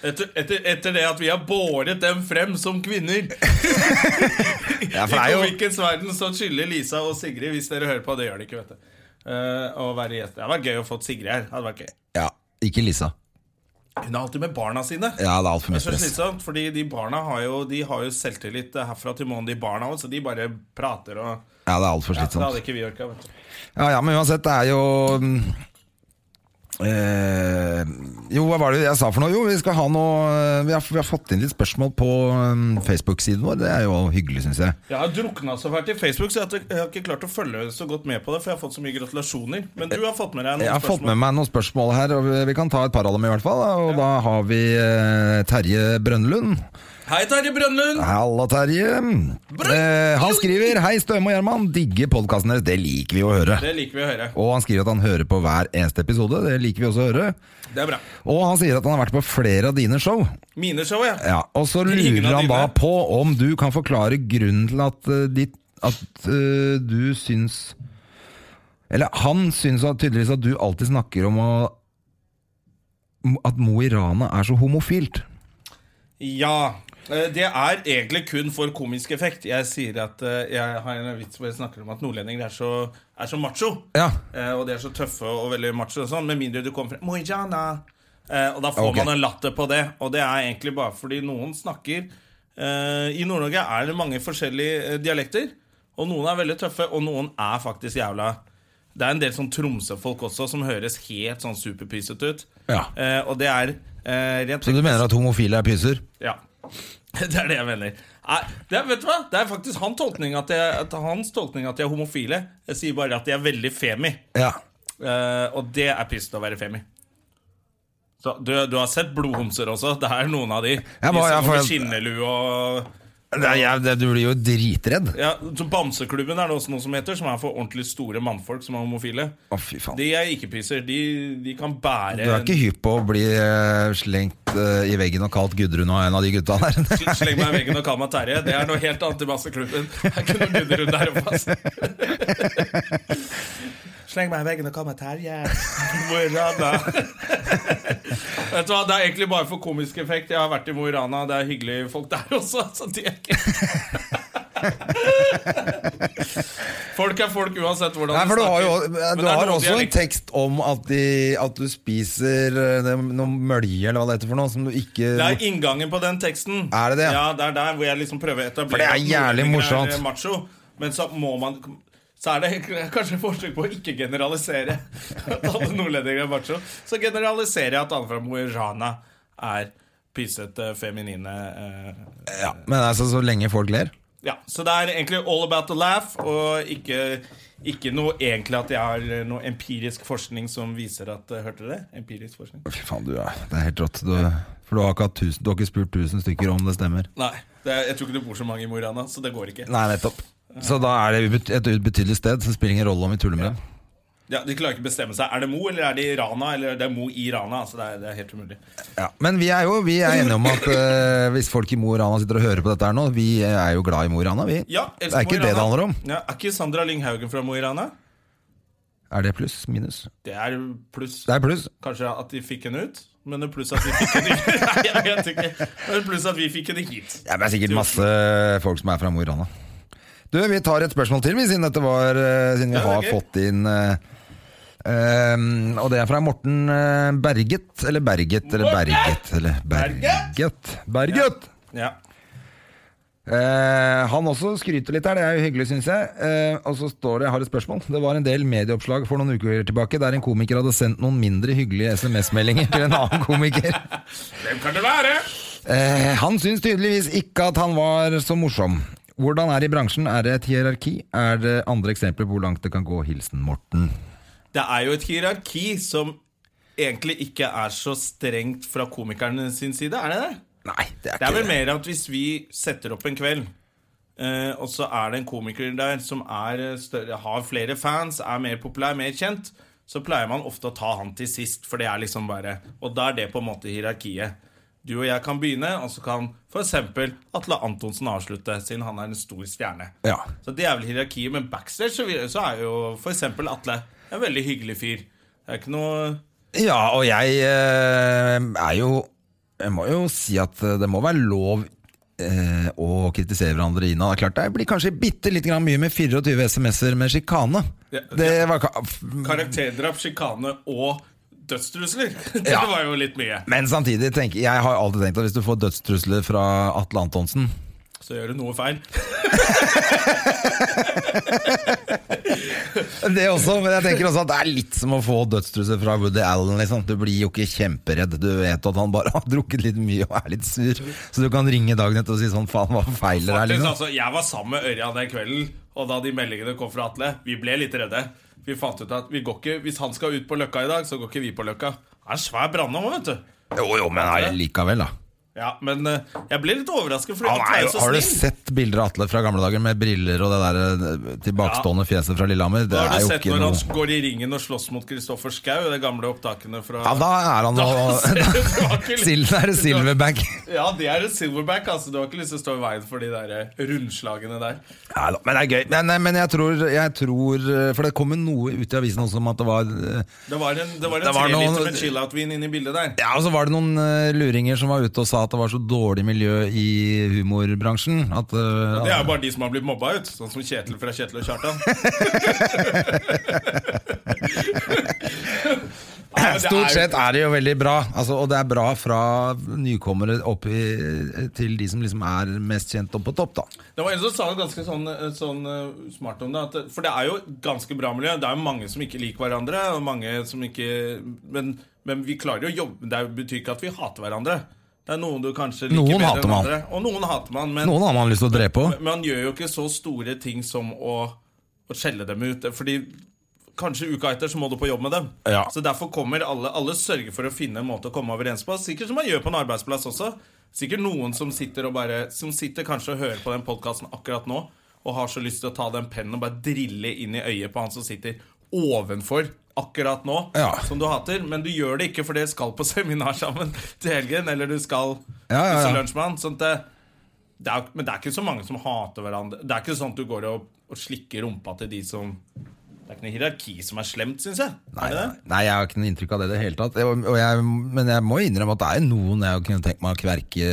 A: Etter, etter, etter det at vi har båret dem frem som kvinner.
B: Ja, for det
A: I
B: er jo
A: komikkens verden så skylder Lisa og Sigrid Hvis dere hører på, det gjør de ikke, vet du Eh, Å være gjest Det hadde vært gøy å få Sigrid her Hadde vært gøy
B: Ja, ikke Lisa.
A: Hun er alltid med barna sine Det
B: Ja, det er altfor mye
A: er så
B: stress.
A: slitsomt Fordi de barna har jo De har jo selvtillit herfra til månen De barna også Så de bare prater og
B: Ja, det er alt for
A: Det
B: slitsomt.
A: hadde ikke vi orket vet du
B: Ja, ja, men uansett, det er jo mm, eh, Jo, hva var det jeg sa for noe? Jo, vi skal ha noe eh, Vi har, vi har fått inn litt spørsmål på mm, Facebook-siden vår. Det er jo hyggelig, syns jeg.
A: Jeg har druknet så fælt i Facebook Så jeg har ikke- jeg har ikke klart å følge så godt med på det For jeg har fått så mye gratulasjoner Men du har fått med deg noen
B: Jeg har fått med
A: spørsmål
B: meg noen spørsmål her, og vi- vi kan ta et par av dem i hvert fall. da. Og da har vi eh, Terje Brønnlund.
A: Hei Terje Brønnlund
B: Halla, Terje. Eh, han skriver Hei, Støme og Gjerman. Digger podkasten deres. Det liker vi å høre.
A: Det liker vi å høre
B: Og han skriver at han hører på hver eneste episode. Det liker vi også å høre.
A: Det er bra
B: Og han sier at han har vært på flere av dine show.
A: Mine show, ja
B: Ja, og så lurer
A: Ingen av
B: han da
A: dine.
B: på om du kan forklare grunnen til at, eh, ditt, at eh, du syns Eller han syns at- tydeligvis at du alltid snakker om å, at Mo i Rana er så homofilt.
A: Ja. eh, Det er egentlig kun for komisk effekt. Jeg sier at eh, jeg har en vits hvor jeg snakker om at nordlendinger er så, er så macho.
B: Ja,
A: Eh, Og de er så tøffe og veldig macho og sånn, med mindre du kommer fra Mojana. Eh, Og da får
B: Ok.
A: man en latter på det. Og det er egentlig bare fordi noen snakker eh, I Nord-Norge er det mange forskjellige eh, dialekter. Og noen er veldig tøffe, og noen er faktisk jævla Det er en del sånn Tromsø-folk også som høres helt sånn superpysete ut.
B: Ja.
A: Eh, Og det er eh, rent
B: Så du mener at homofile er pyser?
A: ja. Det er det jeg mener. Nei, det, er- vet du hva? det er faktisk han tolkning at jeg, at hans tolkning at de er homofile. Jeg sier bare at de er veldig femi.
B: Ja.
A: Eh, og det er pyst å være femi. Så du, du har sett blodhomser også. Det er noen av de. de
B: var- jeg
A: som går med
B: får-
A: skinnelue og
B: Det er, jeg, det, du blir jo dritredd.
A: Ja, så Bamseklubben er det også noe som heter, som er for ordentlig store mannfolk som er homofile.
B: Å, fy faen.
A: De er ikke-pyser. De, de kan bære
B: Du er ikke hypp på å bli eh, slengt eh, i veggen og kalt Gudrun og en av de gutta der?
A: Sleng meg i veggen og kall meg Terje. Det er noe helt annet i Bamseklubben. Det er ikke noe Gudrun der oppe, ass. Sleng meg i veggen og kall meg Terje. Mo i Rana. Vet du hva, Det er egentlig bare for komisk effekt. Jeg har vært i Mo i Rana. Det er hyggelige folk der også. Så de er ikke Folk er folk uansett hvordan
B: Nei, for du har jo
A: snakker. Men
B: du
A: det er
B: har
A: noen
B: også en
A: dialekter.
B: tekst om at, de, at du spiser eh, det- noe mølje eller hva det heter for noe, som du ikke
A: Det er inngangen på den teksten.
B: Er det det?
A: Ja, det er der hvor jeg liksom prøver å etablere
B: For det er
A: at
B: jævlig
A: nordlendinger
B: morsomt.
A: er eh, macho, men så må man Så er det kanskje et forsøk på å ikke generalisere at alle nordlendinger er macho. Så generaliserer jeg at alle fra Mo i Rana er pysete, feminine eh,
B: Ja, Men altså, så lenge folk ler.
A: Ja, så det er egentlig all about the laugh, og ikke ikke noe egentlig at jeg har noe empirisk forskning som viser at eh, Hørte dere det? Empirisk forskning.
B: Fy faen, du er Det er helt rått. Du, for du har, ikke hatt tusen, du har ikke spurt tusen stykker om det stemmer.
A: Nei. Det er, jeg tror ikke det bor så mange i Mo i Rana, så det går ikke.
B: Nei, nettopp. Så da er det ubet- et ubetydelig sted, så det spiller ingen rolle om vi tuller med dem.
A: Ja, De klarer ikke å bestemme seg. Er det Mo eller er det Rana? Eller det er Mo i Rana. Altså, det, er, det er helt umulig.
B: Ja. Men vi er jo vi er enige om at eh, hvis folk i Mo i Rana sitter og hører på dette her nå, vi er jo glad i Mo i Rana, vi.
A: Ja,
B: det
A: elsker
B: er ikke
A: Mo i
B: det det
A: Rana.
B: handler om.
A: Ja, er ikke Sandra Lynghaugen fra Mo i Rana?
B: Er det pluss? Minus?
A: Det er pluss
B: Det er pluss.
A: kanskje at de fikk henne ut. Men det er pluss at vi fikk henne ikke. Nei, jeg vet ikke. Men pluss at vi fikk henne hit.
B: Ja, men Det er sikkert masse folk som er fra Mo i Rana. Du, vi tar et spørsmål til, vi, siden, dette var, eh, siden
A: Ja, det
B: vi
A: er
B: har
A: gøy.
B: fått inn eh, ehm, og det er fra Morten eh, Berget Eller Berget eller
A: Morten!
B: Berget eller Berget. Berget!
A: Ja.
B: Eh, han også skryter litt her, det er jo hyggelig, syns jeg. Eh, og så står det, jeg har et spørsmål. Det var en del medieoppslag for noen uker tilbake der en komiker hadde sendt noen mindre hyggelige SMS-meldinger til en annen komiker.
A: Hvem kan det være?
B: Eh, han syns tydeligvis ikke at han var så morsom. Hvordan er det i bransjen? Er det et hierarki? Er det andre eksempler på hvor langt det kan gå? Hilsen Morten.
A: Det er jo et hierarki som egentlig ikke er så strengt fra komikerne sin side, er det det?
B: Nei, det er
A: Det
B: ikke
A: er vel
B: det.
A: mer at hvis vi setter opp en kveld eh, og så er det en komiker der som er eh, større, har flere fans, er mer populær, mer kjent, så pleier man ofte å ta han til sist, for det er liksom bare Og da er det på en måte hierarkiet. Du og jeg kan begynne, og så kan f.eks. Atle Antonsen avslutte, siden han er en stor stjerne.
B: Ja.
A: Så det er vel hierarkiet, men backstage så, vil- så er jo f.eks. Atle en veldig hyggelig fyr. Det er ikke noe
B: ja, og jeg eh, er jo Jeg må jo si at eh, det må være lov eh, å kritisere hverandre innad. Det er klart det blir kanskje bitte litt grann mye med 24 SMS-er med sjikane.
A: Ja.
B: Det var ka-
A: karakterdrap, sjikane og dødstrusler. Det
B: Ja.
A: var jo litt mye.
B: Men samtidig, tenker, jeg har alltid tenkt at hvis du får dødstrusler fra Atle Antonsen
A: så gjør du noe feil.
B: Det også, men jeg tenker også at det er litt som å få dødstrusler fra Woody Allen. Liksom. Du blir jo ikke kjemperedd. Du vet at han bare har drukket litt mye og er litt sur. Så du kan ringe dagen etter og si sånn faen, hva feiler det her?
A: Faktisk,
B: Liksom.
A: altså, jeg var sammen med Ørjan den kvelden, og da de meldingene kom fra Atle, vi ble litt redde. Vi fant ut at vi går ikke, hvis han skal ut på Løkka i dag, så går ikke vi på Løkka. Han er en svær brandmann, vet du.
B: Jo, jo, men nei, likevel, da.
A: Ja, men eh, jeg ble litt overrasket, fordi
B: Han
A: Atle
B: er,
A: er jo
B: jo-
A: så
B: har du
A: snill.
B: sett bilder av Atle fra gamle dager med briller og det der eh, tilbakestående fjeset fra Lillehammer? Det
A: Da har
B: er
A: du
B: jo
A: sett
B: ikke
A: når han
B: noe
A: går i ringen og slåss mot Kristoffer Schau, de gamle opptakene fra
B: Ja, da er han
A: Da
B: jo
A: ser du- du har ikke lyst-
B: Silden er det silverback.
A: Ja, det er et silverback, altså. Du har ikke lyst til å stå i veien for de der eh, rundslagene der.
B: Ja, da, men det er gøy. Men, eh, men jeg, tror, jeg tror eh, For det kom jo noe ut i avisen også om at det var eh,
A: Det var en, det var en
B: Det var
A: treliter
B: noen-
A: med chill-out-vin inne i bildet der.
B: Ja, og så var det noen eh, luringer som var ute og sa at det var så dårlig miljø i humorbransjen. At, eh,
A: Det er jo bare de som har blitt mobba ut, sånn som Kjetil fra Kjetil og Kjartan. Nei, men det
B: Stort
A: er jo-
B: sett er det jo veldig bra, altså, og det er bra fra nykommere opp i, til de som liksom er mest kjent opp på topp. da
A: Det var en som sa det ganske sånn, sånn eh, smart om det. At, det- for det er jo et ganske bra miljø. Det er jo mange som ikke liker hverandre. Og mange som ikke, men, men vi klarer jo å jobbe Det betyr ikke at vi hater hverandre. Det er noen du kanskje liker
B: Noen
A: bedre
B: hater
A: enn
B: man.
A: andre. Og noen hater man. Men
B: Noen har man lyst til å drepe òg.
A: Men han gjør jo ikke så store ting som å, å skjelle dem ut. Fordi kanskje uka etter så må du på jobb med dem.
B: Ja.
A: Så derfor kommer alle Alle sørger for å finne en måte å komme overens på. Sikkert som man gjør på en arbeidsplass også. Sikkert noen som sitter og bare Som sitter kanskje og hører på den podkasten akkurat nå, og har så lyst til å ta den pennen og bare drille inn i øyet på han som sitter ovenfor akkurat nå,
B: Ja.
A: som du hater. Men du gjør det ikke, for dere skal på seminar sammen til helgen, eller du skal
B: Ja, ja, ja.
A: spise lunsj med han. Sånn at det, det er, men det er ikke så mange som hater hverandre. Det er ikke sånn at du går og, og slikker rumpa til de som Det er ikke noe hierarki som er slemt, syns jeg.
B: Nei,
A: er det det?
B: nei, jeg har ikke noe inntrykk av det i det hele tatt. Jeg, og jeg, men jeg må innrømme at det er noen jeg kunne tenkt meg å kverke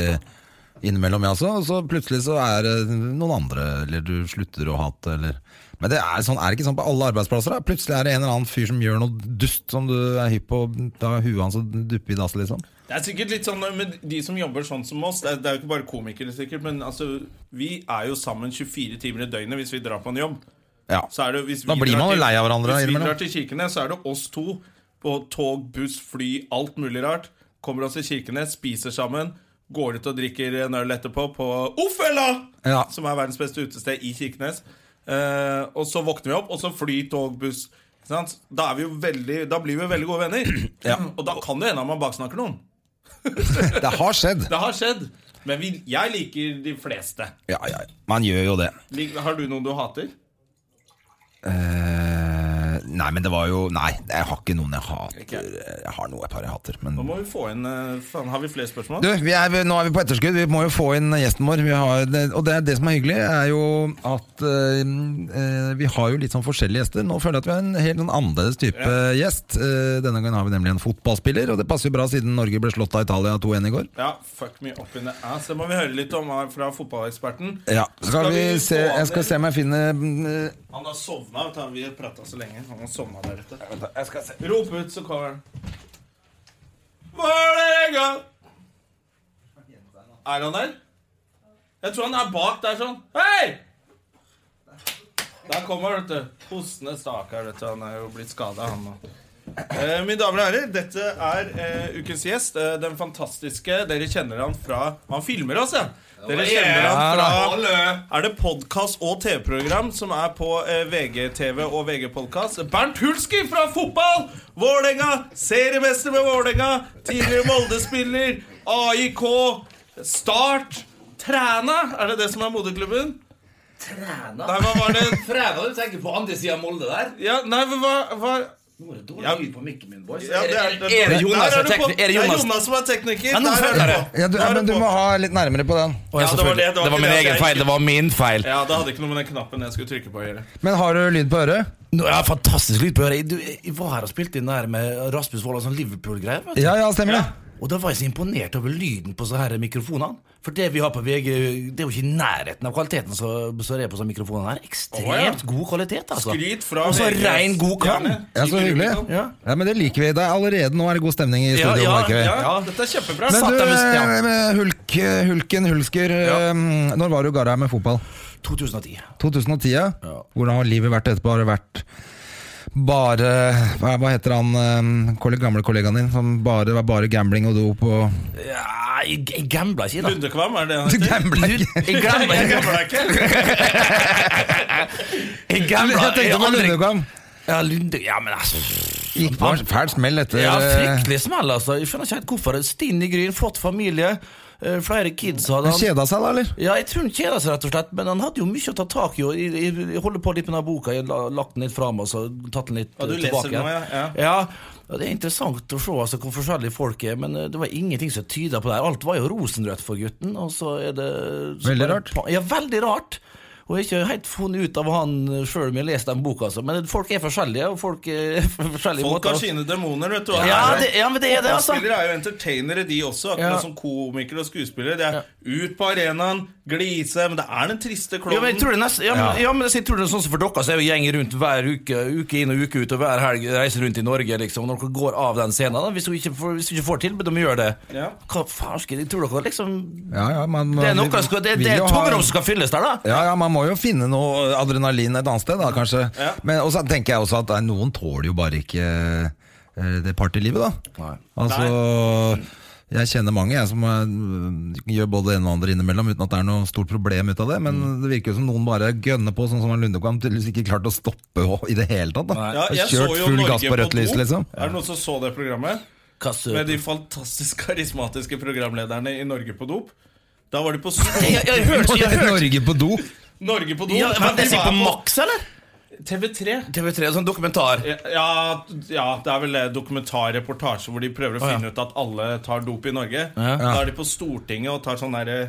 B: innimellom, jeg også. Og så plutselig så er det noen andre, eller du slutter å hate, eller Men det er, sånn, er det ikke sånn på alle arbeidsplasser? da? Plutselig er det en eller annen fyr som gjør noe dust som du er hypp på. Da er huet hans og duppe i dass, liksom.
A: Det er sikkert litt sånn med de som jobber sånn som oss. Det er, det er jo ikke bare komikere, sikkert, men altså, vi er jo sammen 24 timer i døgnet hvis vi drar på en jobb.
B: Ja.
A: Så er det, jo- hvis vi
B: Da blir
A: drar
B: man jo
A: til-
B: lei av hverandre
A: Hvis vi
B: innimellom.
A: drar til Kirkenes, så er det oss to på tog, buss, fly, alt mulig rart. Kommer oss til Kirkenes, spiser sammen, går ut og drikker en øl etterpå på Ofella!
B: Ja.
A: Som er verdens beste utested i Kirkenes. Eh, og så våkner vi opp, og så fly, tog, buss. Ikke sant? Da, er vi jo veldig, da blir vi jo veldig gode venner. Og da kan det hende at man baksnakker noen.
B: Det har skjedd.
A: Det har skjedd. Men vi, jeg liker de fleste.
B: Ja, ja. Man gjør jo det.
A: Lik- Har du noen du hater?
B: Eh, nei, men det var jo Nei, jeg har ikke noen jeg hater. Jeg har noe et par jeg hater, men
A: Nå må vi få inn eh, faen, Har vi flere spørsmål?
B: Du, vi er, nå er vi på etterskudd. Vi må jo få inn gjesten vår. Vi har, det, og det, er det som er hyggelig, er jo at eh, eh, vi har jo litt sånn forskjellige gjester. Nå føler jeg at vi har en helt sånn annerledes type gjest. Eh, denne gangen har vi nemlig en fotballspiller, og det passer jo bra siden Norge ble slått av Italia 2-1 i går.
A: Ja, fuck me up in the ass. Det må vi høre litt om her fra fotballeksperten.
B: Ja, skal
A: Skal
B: vi
A: vi
B: se,
A: gå over?
B: jeg skal se om jeg finner eh,
A: Han har sovna. vet du. Vi har prata så lenge. Han har sovna deretter.
B: vent da, jeg skal se.
A: Rop ut, så kommer han. Vålerenga! Er han der? Jeg tror han er bak der sånn. Hei! Der kommer han, vet du. Hostende stakkar. vet du. Han er jo blitt skada, han nå. Eh, mine damer og herrer, dette er eh, ukens gjest. Eh, den fantastiske Dere kjenner han fra Han filmer oss, ja. Dere kjenner han fra Er det podkast og TV-program som er på eh, VGTV og VG-podkast? Bernt Hulski fra fotball! Vålerenga! Seriemester med Vålerenga! Tidligere Molde-spiller. AIK. Start. Træna, er det det som er moderklubben? Nei,
C: Træna?
A: hva var det?
C: Træna du tenker på andre sida av Molde der?
A: Ja, nei, men hva, hva
C: Nå var det dårlig
A: Ja.
C: lyd på mikken min, boys.
A: ja, det
C: er, er det Jonas
A: Der
C: som
A: du på.
C: tekniker?
A: Det
C: Er det
A: er
C: Jonas?
A: Jonas som er tekniker.
C: Ja, nå
A: Der er
C: følger
A: du
C: jeg.
A: på.
B: Ja, du,
A: Der
B: ja,
A: er
B: men du
A: på.
B: må ha litt nærmere på den.
A: Ja,
C: Å, ja,
A: det var det,
C: selvfølgelig.
A: det var
C: Det var
A: ikke
C: min
A: det at
C: egen
A: jeg
C: feil. Det var min feil.
A: Ja, det hadde ikke noe med den knappen jeg skulle trykke på å gjøre.
B: Men har du lyd på øret?
C: Nå, ja, fantastisk lyd på øret. Du, Jeg var her og spilte inn der med Rasmus Wold og sånn Liverpool-greier. vet du.
B: Ja, ja, stemmer det.
C: Og da var jeg så imponert over lyden på sånne her mikrofonene. For det vi har på VG, det er jo ikke i nærheten av kvaliteten som som er på sånne mikrofoner her. Ekstremt
A: Å, ja.
C: god kvalitet, altså.
A: Skryt fra
C: Og så
A: VGs
C: rein, god kam.
A: stjerne.
B: Ja, så hyggelig.
C: Ja.
B: Ja, men det liker vi. Det er allerede nå er det god stemning i
C: Ja,
B: studio.
C: ja,
B: merker vi.
A: Ja, dette er kjempebra.
B: Men
C: Satt
B: du,
C: dem i stjerne.
B: eh, Hulk, Hulken Hulsker,
C: Ja.
B: eh, når var du i Garheim med fotball?
C: 2010.
B: 2010? Ja.
C: Ja.
B: Hvordan har livet vært etterpå? Har det vært bare Hva hva heter han eh, kolle- gamle kollegaen din som bare det var bare gambling og dop og
C: Ja, jeg, jeg gambla ikke, da.
A: Lundekvam, er det det han heter?
B: Gambling!
C: Jeg gambla
A: Jeg
C: ikke.
A: glemmer deg ikke.
C: Jeg gambla
B: Jeg tenkte på
C: andre-
B: Lundekvam.
C: Ja, Lunde Ja, men altså
B: Gikk på en fæl smell etter
C: Ja,
B: eh,
C: fryktelig smell, altså. Jeg skjønner ikke helt hvorfor. Stinn i gryn, fått familie, eh, flere kids hadde han.
B: Kjeda seg, da, eller?
C: Ja, jeg tror han kjeder seg, rett og slett, men han hadde jo mye å ta tak i. Og jeg, jeg, jeg holder på litt med denne boka, jeg har lagt den litt fram og så tatt den litt
A: Ja, du
C: eh,
A: leser
C: tilbake.
A: den nå, ja,
C: Ja, og Det er interessant å se altså, hvor forskjellige folk er, men eh, det var ingenting som tyda på det. her. Alt var jo rosenrødt for gutten. og så er det... så
B: Veldig
C: bare-
B: rart.
C: Ja, veldig rart. Og jeg har ikke helt funnet ut av han sjøl om jeg har lest den boka, altså. men folk er forskjellige. og folk er forskjellige
A: Folk har
C: måter.
A: sine demoner, vet du.
C: Ja, det, ja, men det er det, altså.
A: Skuespillere er jo entertainere, de også. Akkurat
C: Ja.
A: som komikere og skuespillere. De er ut på arenaen, glise Men det er den triste
C: Ja, men jeg tror
A: klovnen.
C: det er nesten, ja, men, ja, men jeg tror det er sånn som for dere, så er vi gjenger rundt hver uke, uke inn og uke ut, og hver helg reiser rundt i Norge, liksom, når dere går av den scenen, da, hvis du ikke får, hvis du ikke får tilbud om å gjøre det.
A: Ja.
C: Hva faen skal jeg tror dere liksom
B: Ja, ja, man,
C: Det er
B: vi-
C: noe skal, det,
B: vil
C: det er
B: jo
C: et
B: ha-
C: tomrom som skal fylles der, da.
B: Ja, ja, man må jo finne noe adrenalin et annet sted, da, kanskje.
A: Ja.
B: Men også tenker jeg også at eh, noen tåler jo bare ikke eh, det partylivet, da.
C: Nei.
B: Altså Jeg kjenner mange jeg som eh, gjør både det ene og andre innimellom uten at det er noe stort problem ut av det, men
A: Mm.
B: det virker jo som noen bare gønner på, sånn som han Lundekvam tydeligvis ikke klarte å stoppe å- i det hele tatt. da
C: Nei.
A: Ja,
B: Har
A: jeg så
B: Kjørt
A: jo
B: full
A: Norge
B: gass på rødt
A: do.
B: lys, liksom.
A: Er det noen som så det programmet?
C: Hva søt-
A: med de fantastisk karismatiske programlederne i Norge på dop. Da var de på sko-
D: Jeg, jeg, jeg hørte jeg hørte-
B: Norge på do.
A: Norge på dop.
D: ja,
A: Nei,
D: men
A: de
D: jeg sier
A: var
D: på Max, eller?
A: TV3.
C: TV3 sånn dokumentar.
A: Ja, ja, det er vel det dokumentarreportasje hvor de prøver å
C: ja.
A: finne ut at alle tar dop i Norge.
C: Ja.
A: Da er de på Stortinget og tar sånn derre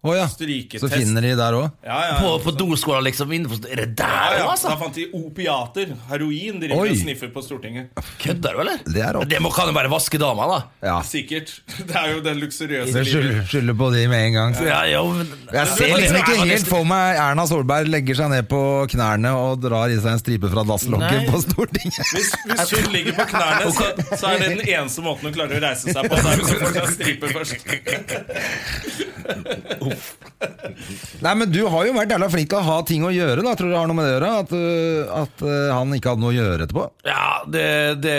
B: Å ja.
A: Stryketest.
B: Så finner de der òg.
A: ja, ja,
D: På, på doskåla, liksom? Inne på, er det
A: ja,
D: der
A: ja.
D: òg,
A: Da
D: altså?
A: fant de opiater. Heroin driver
B: Oi.
A: og sniffer på Stortinget.
D: Kødder du, eller?
B: Det er rått.
C: Det må, kan jo bare vaske dama, da.
B: Ja.
A: Sikkert. Det er jo det luksuriøse
B: Det skylder, skylder på de med en gang.
D: Ja, jo, men-
B: Jeg ser liksom ikke helt for meg Erna Solberg legger seg ned på knærne og drar i seg en stripe fra
D: Nei.
B: dasslokket på Stortinget.
A: Hvis, hvis hun ligger på knærne, så, så er det den eneste måten hun klarer å reise seg på. Så er det sånn å få seg stripe først.
B: Nei, men du har jo vært jævla flink til å ha ting å gjøre, da. Tror du det har noe med det å gjøre? At, øh, at øh, han ikke hadde noe å gjøre etterpå?
D: Ja, det, det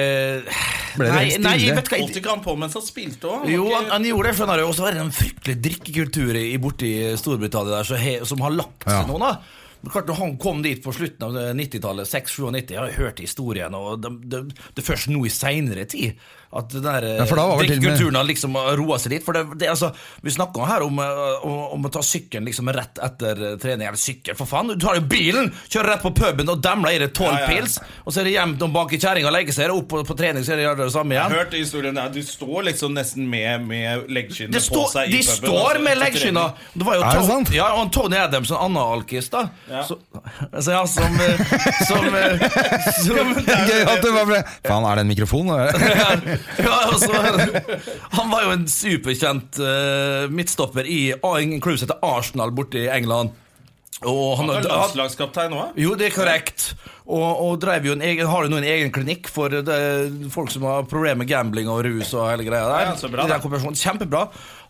B: Ble det
D: Nei,
B: helt
D: nei, vet
B: stille?
D: du hva jeg-
A: Holdt ikke han på mens han spilte òg?
C: Jo, han, han gjorde det, skjønner du. Og så er det en fryktelig drikkekultur i, borti Storbritannia der, så he, som har lagt seg
B: Ja.
C: nå, da. Men klart, når han kom dit på slutten av eh, 90-tallet, 96-97, jeg har hørt historien, og det, det, det er først nå i seinere tid at den der
B: Ja, for da var vel til og med-
C: drikkekulturen har liksom roa seg litt. For det, det, altså, vi snakker her om, eh, om, om å ta sykkelen liksom rett etter eh, trening. Eller sykkel, for faen! Du tar jo bilen! Kjører rett på puben og demler i deg tolv
A: Ja, ja.
C: pils, og så er det hjem til å bake kjerringa og legge seg, og opp på, på trening, så er det gjør det samme igjen.
A: Hørt historien der, Du står liksom nesten med, med leggskinnene
C: Det
A: på
C: står-
A: seg i
C: de
A: puben,
C: står
A: altså,
C: med
A: etter
C: leggskinna!
A: trening.
C: Det var jo
B: Er det
C: Tony-
B: sant?
C: Ja, og Tony Adams, en annen alkis, da.
A: Ja.
C: Så, altså, ja, som, eh, som, eh, som
B: Gøy at du bare ble Faen, er det en mikrofon?
C: ja, altså, Han var jo en superkjent eh, midtstopper i en klubb som heter Arsenal borte i England. Og han,
A: Han er
C: han-
A: landslagskaptein òg.
C: jo, det er korrekt. Og, og drev jo en egen, har jo nå en egen klinikk for det, folk som har problemer med gambling og rus og hele greia der.
A: Ja, så bra,
C: I
A: da.
C: den kombinasjonen. Kjempebra.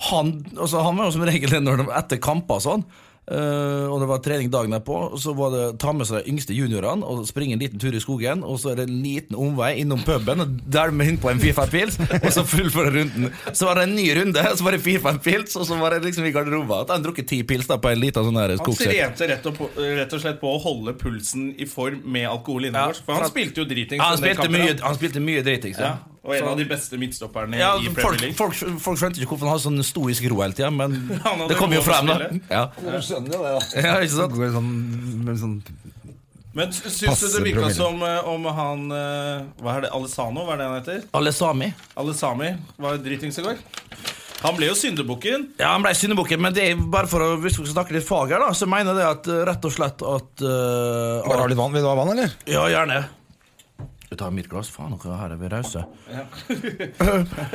C: Han, altså, han var jo som regel når de, etter kamper og sånn. eh, og det var trening dagen derpå. og Så var det ta med seg de yngste juniorene og springe en liten tur i skogen. Og så er det en liten omvei innom puben og dælme inn på en fire-fem pils. Og så fullføre runden. Så var det en ny runde, så var det fire-fem pils, og så var det liksom i garderoben. Da hadde han drukket ti pils da på en liten sånn her
A: Han
C: skogsekk.
A: trente rett og, på- rett og slett på å holde pulsen i form med alkohol innenbords.
C: Ja,
A: for han
C: for-
A: spilte jo dritings.
C: Ja, han
A: på den
C: spilte
A: Liksom, kampen,
C: mye, han spilte mye driting.
A: Ja, altså,
C: Ja.
A: og en av de beste midtstopperne
C: Ja,
A: i Premier
C: folk,
A: League.
C: folk, folk skjønte ikke hvorfor han hadde sånn stoisk ro hele tida, men
A: hadde
C: det kom jo
A: lov å
C: frem, da.
A: spille.
C: Ja.
B: Du skjønner jo det, da.
C: ja, ikke sant?
B: Går sånn, med sånn
A: Men sy- syns
B: Passe
A: du det virka
B: promille.
A: som eh, om han eh, Hva er det, Alessano? Hva er det han heter?
C: Alle sami.
A: Alessami var dritings i går. Han ble jo syndebukken.
C: Ja, Han ble syndebukken, men det er bare for å, hvis vi skal snakke litt fag her, da, så mener jeg det at eh, rett og slett at eh,
B: Bare har litt vann. Vil du ha vann, eller?
C: Ja, gjerne. Jeg tar mitt glass. Faen, dere her er vi rause.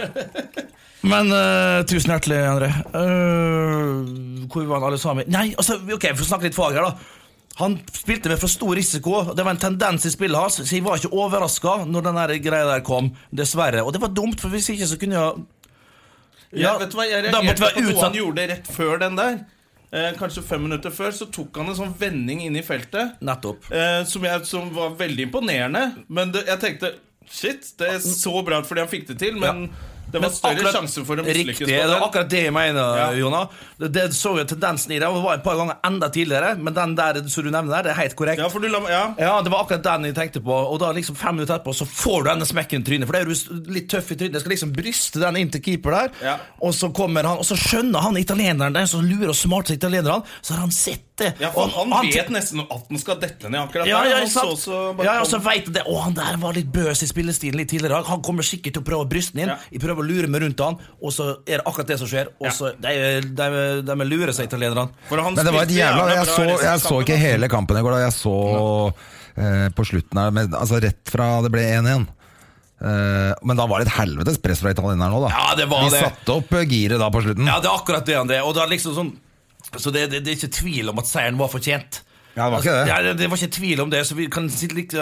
C: Men eh, tusen hjertelig, André. Eh, hvor var han alle sammen? Nei, altså, ok, vi får snakke litt fag her, da. Han spilte med for stor risiko. Det var en tendens i spillet hans, så jeg var ikke overraska når den der greia der kom. Dessverre. Og det var dumt, for hvis ikke så kunne jeg
A: Ja, vet du hva, Jeg
C: da måtte
A: reagerte på noe
C: vi være
A: han
C: utsatt.
A: gjorde rett før den der. Eh, kanskje fem minutter før så tok han en sånn vending inn i feltet
C: Nettopp.
A: eh, som, jeg, som var veldig imponerende. Men det, jeg tenkte shit, det er så bra fordi han fikk det til, men det var større
C: akkurat-
A: sjanse for å mislykkes.
C: Riktig,
A: på
C: det er
A: den.
C: akkurat det jeg mener,
A: Ja.
C: Jonah. Det, det så jo tendensen i det. og Det var et par ganger enda tidligere, men den der som du nevner der, det er helt korrekt.
A: Ja,
C: Ja.
A: for du la, ja.
C: det var akkurat den jeg tenkte på. Og da liksom fem minutter etterpå så får du denne smekken i trynet. For det er jo s- litt tøff i trynet. Jeg skal liksom bryste den inn til keeper der.
A: Ja.
C: Og så kommer han, og så skjønner han italieneren, den som lurer og smarte italieneren, så har han sett det.
A: ja, for
C: Og
A: han, vet nesten at han skal dette ned akkurat
C: ja,
A: der.
C: ja,
A: han
C: ikke sant?
A: så så bare
C: ja, ja,
A: kom-
C: så vet jeg det. Å, han der var litt bøs i spillestilen litt tidligere i dag. Han kommer sikkert til å prøve brysten inn.
A: Ja.
C: Jeg prøver å lure meg rundt han, og så er det akkurat det som skjer. Og
A: Ja.
C: så de, de, de lurer seg, italienerne.
A: for han
B: Men det var et
A: spilte
B: jævla
A: jævla
B: Jeg
A: bra
B: så,
A: resten av
B: jeg så
A: kampen,
B: ikke
A: altså.
B: hele kampen i går. da Jeg så eh, på slutten her men, Altså rett fra det ble 1-1. Eh, men da var det et helvetes press fra italieneren òg, da.
C: Ja, det var
B: Vi
C: det.
B: satte opp eh, giret da på slutten.
C: Ja, det er akkurat det han det. er. Og det er liksom sånn, så det, det, det er ikke tvil om at seieren var fortjent.
B: Ja, det var ikke det.
C: Ja, det, det var ikke tvil om det, så vi kan si litt,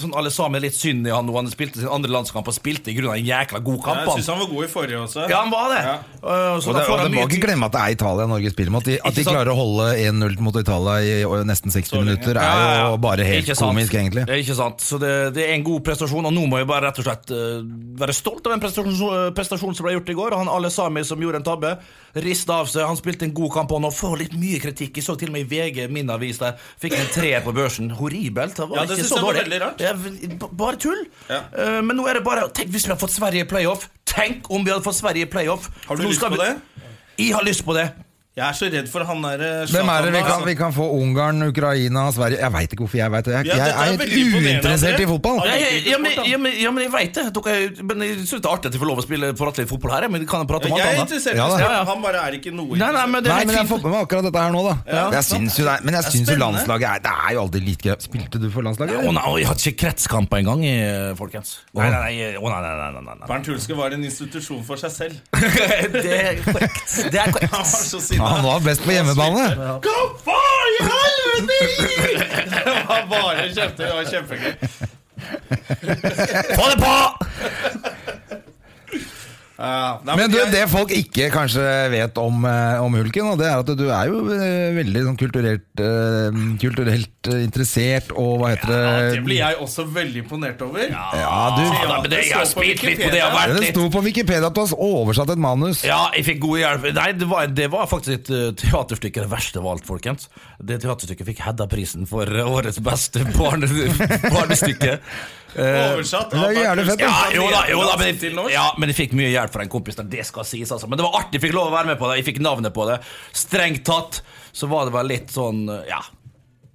C: sånn alle sammen er litt synd i han nå. Han spilte sin andre landskamp og spilte i grunnen en jækla god
A: Ja,
C: kamp.
A: Jeg
C: han.
A: syns han var god i forrige også.
C: Ja, han var det.
A: Ja.
C: Uh,
B: Og
C: så da
B: det,
C: får
B: og
C: han
B: det
C: mye
B: må ikke
C: tid.
B: glemme at det er Italia Norge spiller mot. De, at de
C: Ikke sant?
B: klarer å holde 1-0 mot Italia i og nesten 60 minutter, er
C: Ja, ja, ja.
B: jo bare helt
C: Ikke sant.
B: komisk, egentlig.
C: Det er ikke sant. Så det, det er en god prestasjon, og nå må jeg bare rett og slett eh, være stolt av den prestasjonen prestasjon som ble gjort i går. Han alle sami som gjorde en tabbe, rista av seg. Han spilte en god kamp, og han får litt mye kritikk. Jeg så til og med i VG, min avis, der Fikk en treer på børsen. Horribelt. Det var
A: Ja, det
C: ikke
A: synes
C: så
A: jeg var
C: dårlig.
A: veldig rart.
C: Ja, v- b- bare tull.
A: Ja.
C: Eh, men nå er det bare Tenk hvis vi hadde fått Sverige i playoff! Tenk om vi hadde fått Sverige i playoff!
A: Har du
C: Nå
A: lyst
C: skal
A: på
C: vi-
A: det?
C: Jeg har lyst på det.
A: Jeg er så redd for han derre
B: Hvem er det vi kan,
A: altså.
B: vi kan få? Ungarn, Ukraina, Sverige Jeg veit ikke hvorfor jeg veit det. Jeg,
A: Ja,
B: jeg
A: dette er
B: er
A: veldig
B: helt
A: imponerende,
B: uinteressert
A: André.
B: i fotball.
A: Ja,
C: Ja,
A: det er
C: jeg, ja, men,
A: sport, da.
C: ja, men, ja, men jeg veit det. Dere, er- men jeg syns det er artig at jeg får lov å spille, prate litt fotball her, jeg, men kan jeg prate om alt
A: Jeg er
C: annet?
A: interessert i
B: Ja, da.
A: sport,
C: Ja, ja.
A: han bare er ikke noe
C: Nei, nei, men det
B: Nei,
C: er helt
B: men jeg har
C: fint.
B: fått med meg akkurat dette her nå, da. jeg syns jo det, er- men jeg
A: Det er
B: syns jo
A: spennende.
B: landslaget er, Det er jo alltid litt gøy. Spilte du for landslaget?
C: Å
B: eller?
C: nei, jeg hadde ikke kretskamper engang, eh, folkens. Nei, nei, nei, å, nei, nei, nei, nei, nei.
A: Bernt Hulske var en institusjon for seg selv.
C: Det er korrekt. Det er
A: Han var
C: korrekt.
A: så
B: Ja,
A: sinna.
B: han var best på hjemmebane.
A: Hva faen i helvete! Det var bare kjefte. Det var kjempegøy.
C: Få det på!
A: Ja, Eh, nei,
B: Men du,
A: jeg-
B: det folk ikke kanskje vet om, eh, om Hulken, og det er at du er jo eh, veldig sånn kulturelt, eh, kulturelt eh, interessert og hva heter
A: Ja, det
B: det
A: blir jeg også veldig imponert over.
B: Ja, du.
A: Ja,
C: men det,
A: det
C: jeg har
A: står på
C: spilt litt på
A: Wikipedia.
C: det jeg har vært
B: Det
C: litt.
B: sto på Wikipedia at du har oversatt et manus.
C: Ja, jeg fikk god hjelp. Nei, det var, det var faktisk et eh, teaterstykke. Det verste av alt, folkens. Det teaterstykket fikk Hedda-prisen for eh, årets beste barne, barnestykke. Eh,
A: Oversatt
B: Det er jo jævlig fett, da.
C: Ja, jo da, jo da men,
A: til norsk.
C: ja, men jeg fikk mye hjelp fra en kompis. der, Det skal sies, altså. Men det var artig. Jeg fikk lov å være med på det. Jeg fikk navnet på det. Strengt tatt så var det vel litt sånn Ja.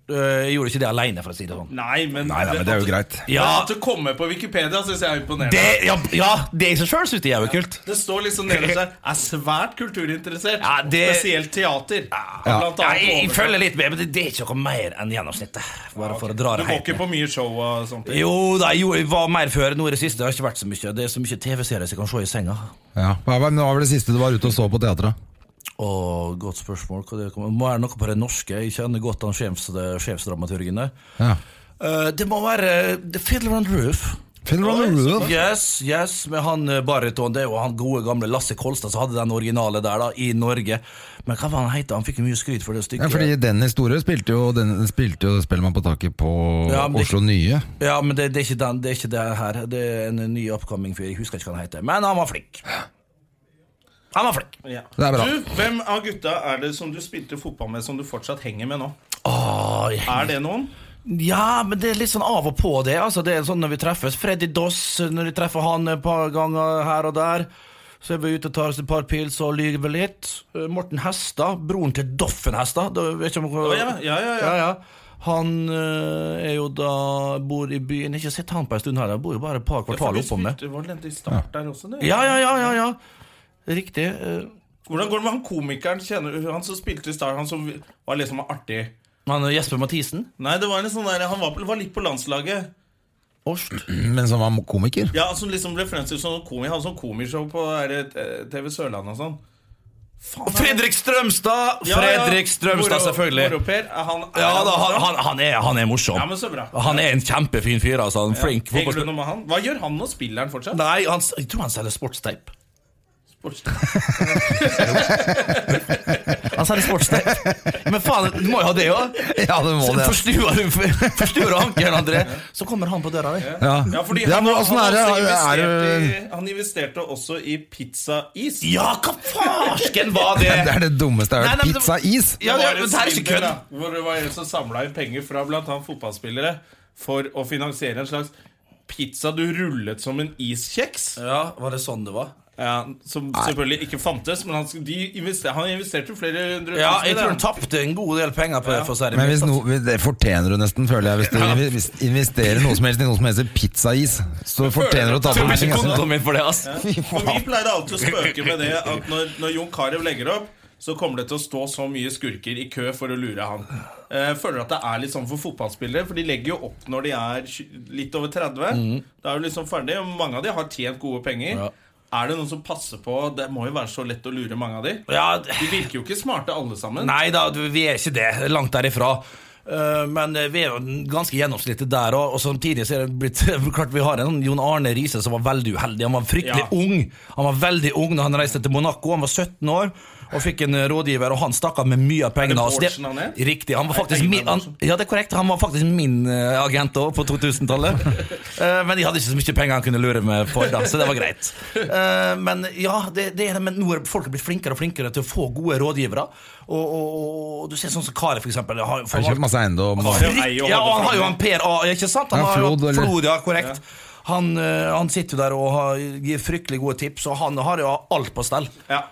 C: Eh, Jeg gjorde ikke det aleine, for å si det sånn.
A: Nei, men,
B: Nei, nei, men det er jo greit.
A: Ja.
C: Ja,
A: At du kommer på Wikipedia, syns jeg er imponerende.
C: det,
A: Det,
C: ja, ja, det i seg sjøl syns jeg er jævlig kult.
A: står liksom nederst der. Er svært kulturinteressert.
C: Ja, det-
A: Spesielt teater.
B: Ja.
A: Blant
C: Ja,
A: annet
C: jeg, jeg
A: oversatt.
C: følger litt med, men det, det er ikke noe mer enn gjennomsnittet. Bare for å dra
A: Du
C: det
A: går
C: helt
A: ikke
C: ned.
A: på mye show og sånt?
C: Jo da, jeg gjorde- jeg var mer før. Nå i det siste det har ikke vært så mye. Det er så mye TV-serier som jeg kan se i senga.
B: Ja. Hva var, men hva var det siste du var ute og så på teatret?
C: Åh, godt spørsmål. Hva det kommer- må være noe på det norske. Jeg kjenner godt han sjefs, sjefsdramaturgen der.
B: Ja.
C: Eh, det må være The Fiddler on the Roof.
B: Fiddler on the Roof.
C: Yes, yes, med han eh, bariton. Det er jo han gode gamle Lasse Kolstad som hadde den originale der, da, i Norge. Men hva var han het? Han fikk jo mye skryt for det
B: Ja,
C: stykket.
B: fordi Dennis Store spilte jo, den, spilte jo Spellemann på taket på
C: Ja, men det-
B: Oslo Nye.
C: Ja, men det, det, er ikke den, det er ikke det her. Det er en ny upcoming fyr. Jeg husker ikke hva han heter. Men han var flink. Han var flink.
A: Ja.
B: Det er bra.
A: Du, hvem av gutta er det som du spilte fotball med, som du fortsatt henger med nå?
C: Åh, jeg-
A: Er det noen?
C: ja, men det er litt sånn av og på, det. Altså, det er sånn når vi treffes. Freddy Doss, når vi treffer han et par ganger her og der. Så er vi ute og tar oss et par pils og lyver vi litt. Eh, Morten Hestad, broren til Doffen Hestad. Da vet jeg ikke om-
A: Å, ja, ja, ja, ja.
C: Ja, ja. Han eh, er jo da bor i byen. Jeg har ikke sett han på en stund heller. Bor jo bare et par kvartal oppom meg.
A: Det var litt i start der også, det.
C: Ja, ja, ja, ja, ja. Riktig. eh,
A: Hvordan går det med han komikeren? Kjenner du han som spilte i start? Han som var liksom artig?
C: Han er Jesper Mathisen.
A: Nei, det var en sånn der, han var, var litt på landslaget.
C: Orst.
B: Men som var komiker.
A: Ja, Som liksom ble fremstilt som komiker. Han hadde sånn komishow på der, eh, TV Sørlandet og sånn. Faen, han-
C: Fredrik Strømstad!
A: Ja, ja.
C: Fredrik Strømstad,
A: Moro-
C: selvfølgelig.
A: Moro-Per, er han, er
C: Ja da, han,
A: bra?
C: han, han, er, han er morsom.
A: Ja, men så bra.
C: Han er en kjempefin fyr, altså. Han er flink
A: Henger du
C: fotballspiller.
A: noe med han? Hva gjør han nå? Spiller han fortsatt?
C: Nei, han, s- jeg tror han selger sportsteip.
A: Sportsteip.
C: Han selger sportsteip. Men faen, du må jo ha det òg.
B: Ja, det må det.
C: Forstuer forstuer ankelen, André, så kommer han på døra di.
B: Ja,
A: Ja, fordi
B: ja
A: han,
B: men
A: han,
C: altså,
B: åssen
A: har
B: er det?
A: også
B: Er,
A: investert
B: det-
A: i, han investerte også i pizzais.
C: Ja, hva farsken var det?
B: det er det dummeste jeg har
C: Nei, nei,
B: hørt.
C: men det-
B: Pizza-is!
C: Ja, det,
A: var
C: er-
A: en
C: det her er ikke
A: svindel,
C: kødd.
A: da, Hvor det var en som samla inn penger fra bl.a. fotballspillere for å finansiere en slags pizza du rullet som en iskjeks.
C: Ja, var det sånn det var?
A: Ja, som selvfølgelig ikke fantes, men han, de invester, han investerte jo flere hundre
C: Ja,
A: tusen i det.
C: jeg tror han tapte en god del penger på det. For å si det
B: Men
C: mildt,
B: hvis
C: altså.
B: no, det fortjener du nesten, føler jeg. Hvis du invi- hvis du investerer noe som helst i noe som heter pizza-is, så fortjener du å ta på
C: Tror
B: deg
C: ikke
B: altså.
C: kontoen min for det, ass.
A: For vi pleide alltid å spøke med det at når, når Jon Carew legger opp, så kommer det til å stå så mye skurker i kø for å lure han. Eh, føler at det er litt sånn for fotballspillere, for de legger jo opp når de er tj- litt over 30. Da er du liksom ferdig. og Mange av de har tjent gode penger.
C: Ja.
A: Er det noen som passer på Det må jo være så lett å lure mange av de.
C: Ja,
A: De virker jo ikke smarte, alle sammen.
C: nei da, vi er ikke det. Langt derifra. Eh, Men vi er jo ganske gjennomsnittlige der òg. Og samtidig så er det blitt Klart vi har en sånn Jon Arne Riise som var veldig uheldig. Han var fryktelig
A: Ja.
C: ung. Han var veldig ung da han reiste til Monaco. Han var 17 år. og fikk en eh, rådgiver, og han stakk av med mye av
A: Er
C: pengene.
A: det
C: altså, det-
A: Bårdsen han het?
C: Riktig. Han var
A: det er
C: faktisk
A: ikke
C: min,
A: han
C: han, ja, det er korrekt. Han var faktisk min eh, agent òg, på 2000-tallet. Eh, men jeg hadde ikke så mye penger han kunne lure meg for, da, så det var greit. Eh, men ja, det, det er det, men nå er folk blitt flinkere og flinkere til å få gode rådgivere. Og, og, og, og du ser sånn som Kari, for eksempel. Har,
B: Har kjøpt masse eiendom. og-
A: Ja, eier og
C: ja, og han
A: holder
C: har
A: fremme.
C: jo han Per A, ikke sant? Han
B: Ja,
C: har jo
B: Flod, eller-
C: Flod, ja, korrekt. Han, eh, han sitter jo der og har, gir fryktelig gode tips, og han har jo alt på stell.
A: Ja.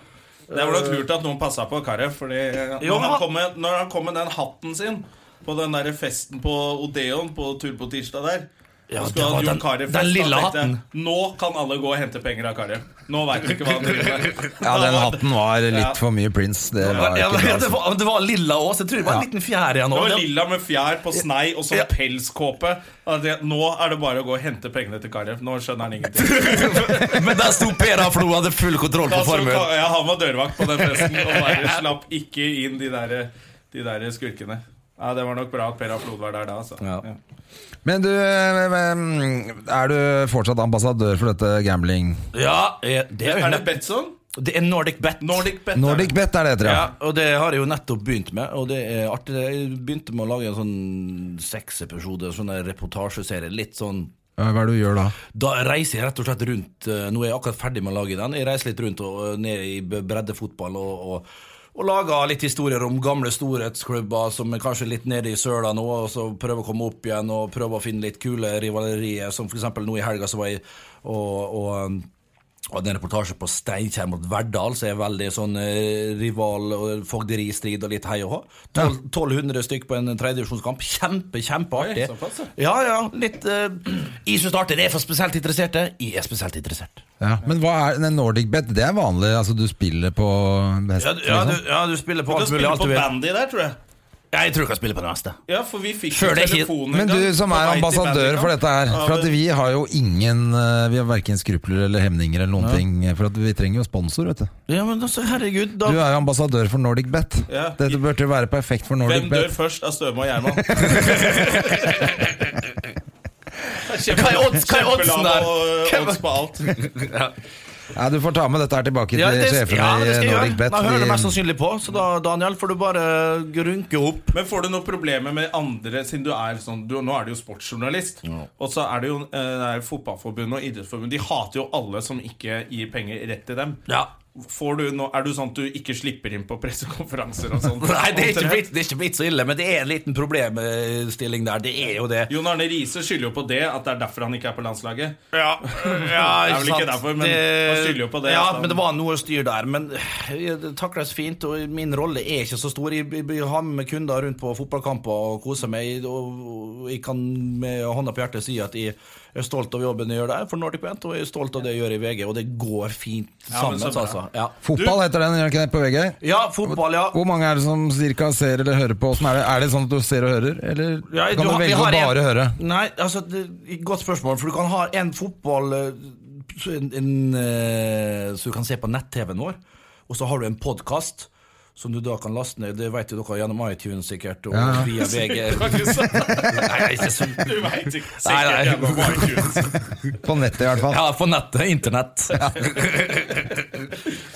A: Det var nok lurt at noen passa på Karev. Fordi eh,
C: Jo,
A: når, han
C: han-
A: kom med, når han kom med den hatten sin på den der festen på Odeon på tur på tirsdag der
C: Ja,
A: så skulle
C: det
A: han
C: var
A: gjort
C: den-
A: Karev
C: den
A: fest, da
C: lille
A: tenkte jeg,
C: hatten.
A: Nå kan alle gå og hente penger av Karev. Nå veit vi ikke hva han driver med.
B: Ja, den hatten var
A: Ja.
B: litt for mye Prince. Det var
C: Ja,
B: ikke bra. altså.
C: det, var, det var lilla òg, så jeg tror det var en liten fjær igjen.
A: Det
C: også.
A: var lilla med fjær på snei og sånn
C: Ja.
A: pelskåpe. Da tenkte jeg, Nå er det bare å gå og hente pengene til Karev. Nå skjønner han ingenting.
C: Men der sto Per A. Flo og hadde full kontroll på
A: Da så
C: formuen.
A: Ka- ja, han var dørvakt på den festen og bare slapp ikke inn de der, de der skurkene. Ja, Det var nok bra at Per A. Flod var der da. Altså.
C: Ja.
A: Ja.
B: Men du, eh, er du fortsatt ambassadør for dette gambling?
C: Ja, eh, det er, jo
A: Er det
C: nett-
A: Betson?
C: det er Nordic Bet.
A: Nordic Bet.
B: Nordic Bet er det, tror jeg.
C: Ja, og det har jeg jo nettopp begynt med, og det er artig. Jeg begynte med å lage en sånn seksepisode, sånn der reportasjeserie. Litt sånn
B: Ja, Hva er det du gjør da?
C: Da reiser jeg rett og slett rundt eh, Nå er jeg akkurat ferdig med å lage den. Jeg reiser litt rundt og og ned i b- breddefotball og, og, og lager litt historier om gamle storhetsklubber som er kanskje litt nede i søla nå, og så prøver å komme opp igjen og prøver å finne litt kule rivalerier. Som for eksempel nå i helga så var jeg og, og um, hadde en reportasje på Steinkjer mot Verdal, som er veldig sånn eh, rival- og fogderistrid og litt hei og hå. 12, 1200 stykk på en tredjedivisjonskamp. Kjempe, kjempeartig.
A: Oi, såpass, ja.
C: Ja, ja. Litt eh, Jeg syns det er artig. Det er for spesielt interesserte. Jeg er spesielt interessert.
B: Ja. Men hva er den Nordic Bet? Det er vanlig, altså du spiller på hest?
C: Ja, du,
B: liksom.
C: spiller på
A: Du
C: alt mulig.
A: spiller
C: Alt
A: på
C: du vil.
A: bandy der, tror jeg.
C: Ja, jeg tror jeg kan spille på det meste.
A: Ja, for vi fikk
C: Før
A: jo
C: det hit.
A: telefonen
B: Men
A: en
B: du
A: gang
B: som
A: på vei
B: er
A: til
B: ambassadør
A: bandykamp.
B: for dette her,
A: Ja,
B: for at
A: det-
B: vi har jo ingen eh, Vi har verken skrupler eller hemninger eller noen ting. eh, For at vi trenger jo sponsor, vet du.
C: Ja, men altså, herregud, da
B: Du er jo ambassadør for Nordic Bet.
A: Ja.
B: Dette burde jo være perfekt for Nordic
A: Hvem dør
B: Bet.
A: først av Støme og Gjerman?
C: Hva er odds- hva er oddsen der? Hvem-
A: Odds på alt.
B: Ja, du får ta med dette her tilbake til
C: ja, det, ja,
B: sjefene
C: det skal
B: i
C: jeg
B: Nordic
C: gjøre.
B: Bet.
C: Da hører du mest
B: De-
C: sannsynlig på. Så da, Daniel, får du bare grunke opp.
A: Men får du noen problemer med andre Siden du er sånn, du, nå er du jo sportsjournalist Og så er det jo eh, det er fotballforbund og idrettsforbund De hater jo alle som ikke gir penger rett til dem
C: Ja.
A: Får du nå, Er du sånn at du ikke slipper inn på pressekonferanser og sånt?
C: Nei, det er, ikke blitt, det er ikke blitt så ille, men det er en liten problemstilling der. Det er jo det.
A: Jon Arne Riese skylder jo på det At det er derfor han ikke er på landslaget
C: Ja,
A: Det er
C: ikke
A: vel ikke
C: sant.
A: derfor, men han skylder jo på det,
C: Ja,
A: altså.
C: men det var noe styr der. Men øh, det takles fint, og min rolle er ikke så stor. Jeg, jeg, jeg har med kunder rundt på fotballkamper og koser meg. Og, og jeg kan med hånda på hjertet si at jeg er stolt av jobben jeg gjør der for Nordic Bent, og jeg er stolt av det jeg gjør i VG, og det går fint
A: Ja, men
C: sammen,
A: så bra.
C: altså. Ja.
B: Fotball heter den, gjør den ikke det, på VG?
C: ja, fotball, ja.
B: Hvor mange er det som cirka ser eller hører på? Som er, det, er det sånn at du ser og hører, eller
C: Ja,
B: kan du,
C: har- vi
B: velge å
C: har en-
B: bare høre?
C: Nei, altså, det, godt spørsmål, for du kan ha en fotball eh, en, en, eh, Så du kan se på nett-TV-en vår, og så har du en podkast. Som du da kan laste ned. Det vet jo dere gjennom iTunes sikkert, og
B: Ja.
C: via VG.
A: Du har ikke sagt-
C: Nei, jeg er ikke så
A: Du vet ikke
C: Nei, nei.
A: Sikkert jeg går bare ut.
B: På nettet, i hvert fall.
C: Ja, på nettet. Internett.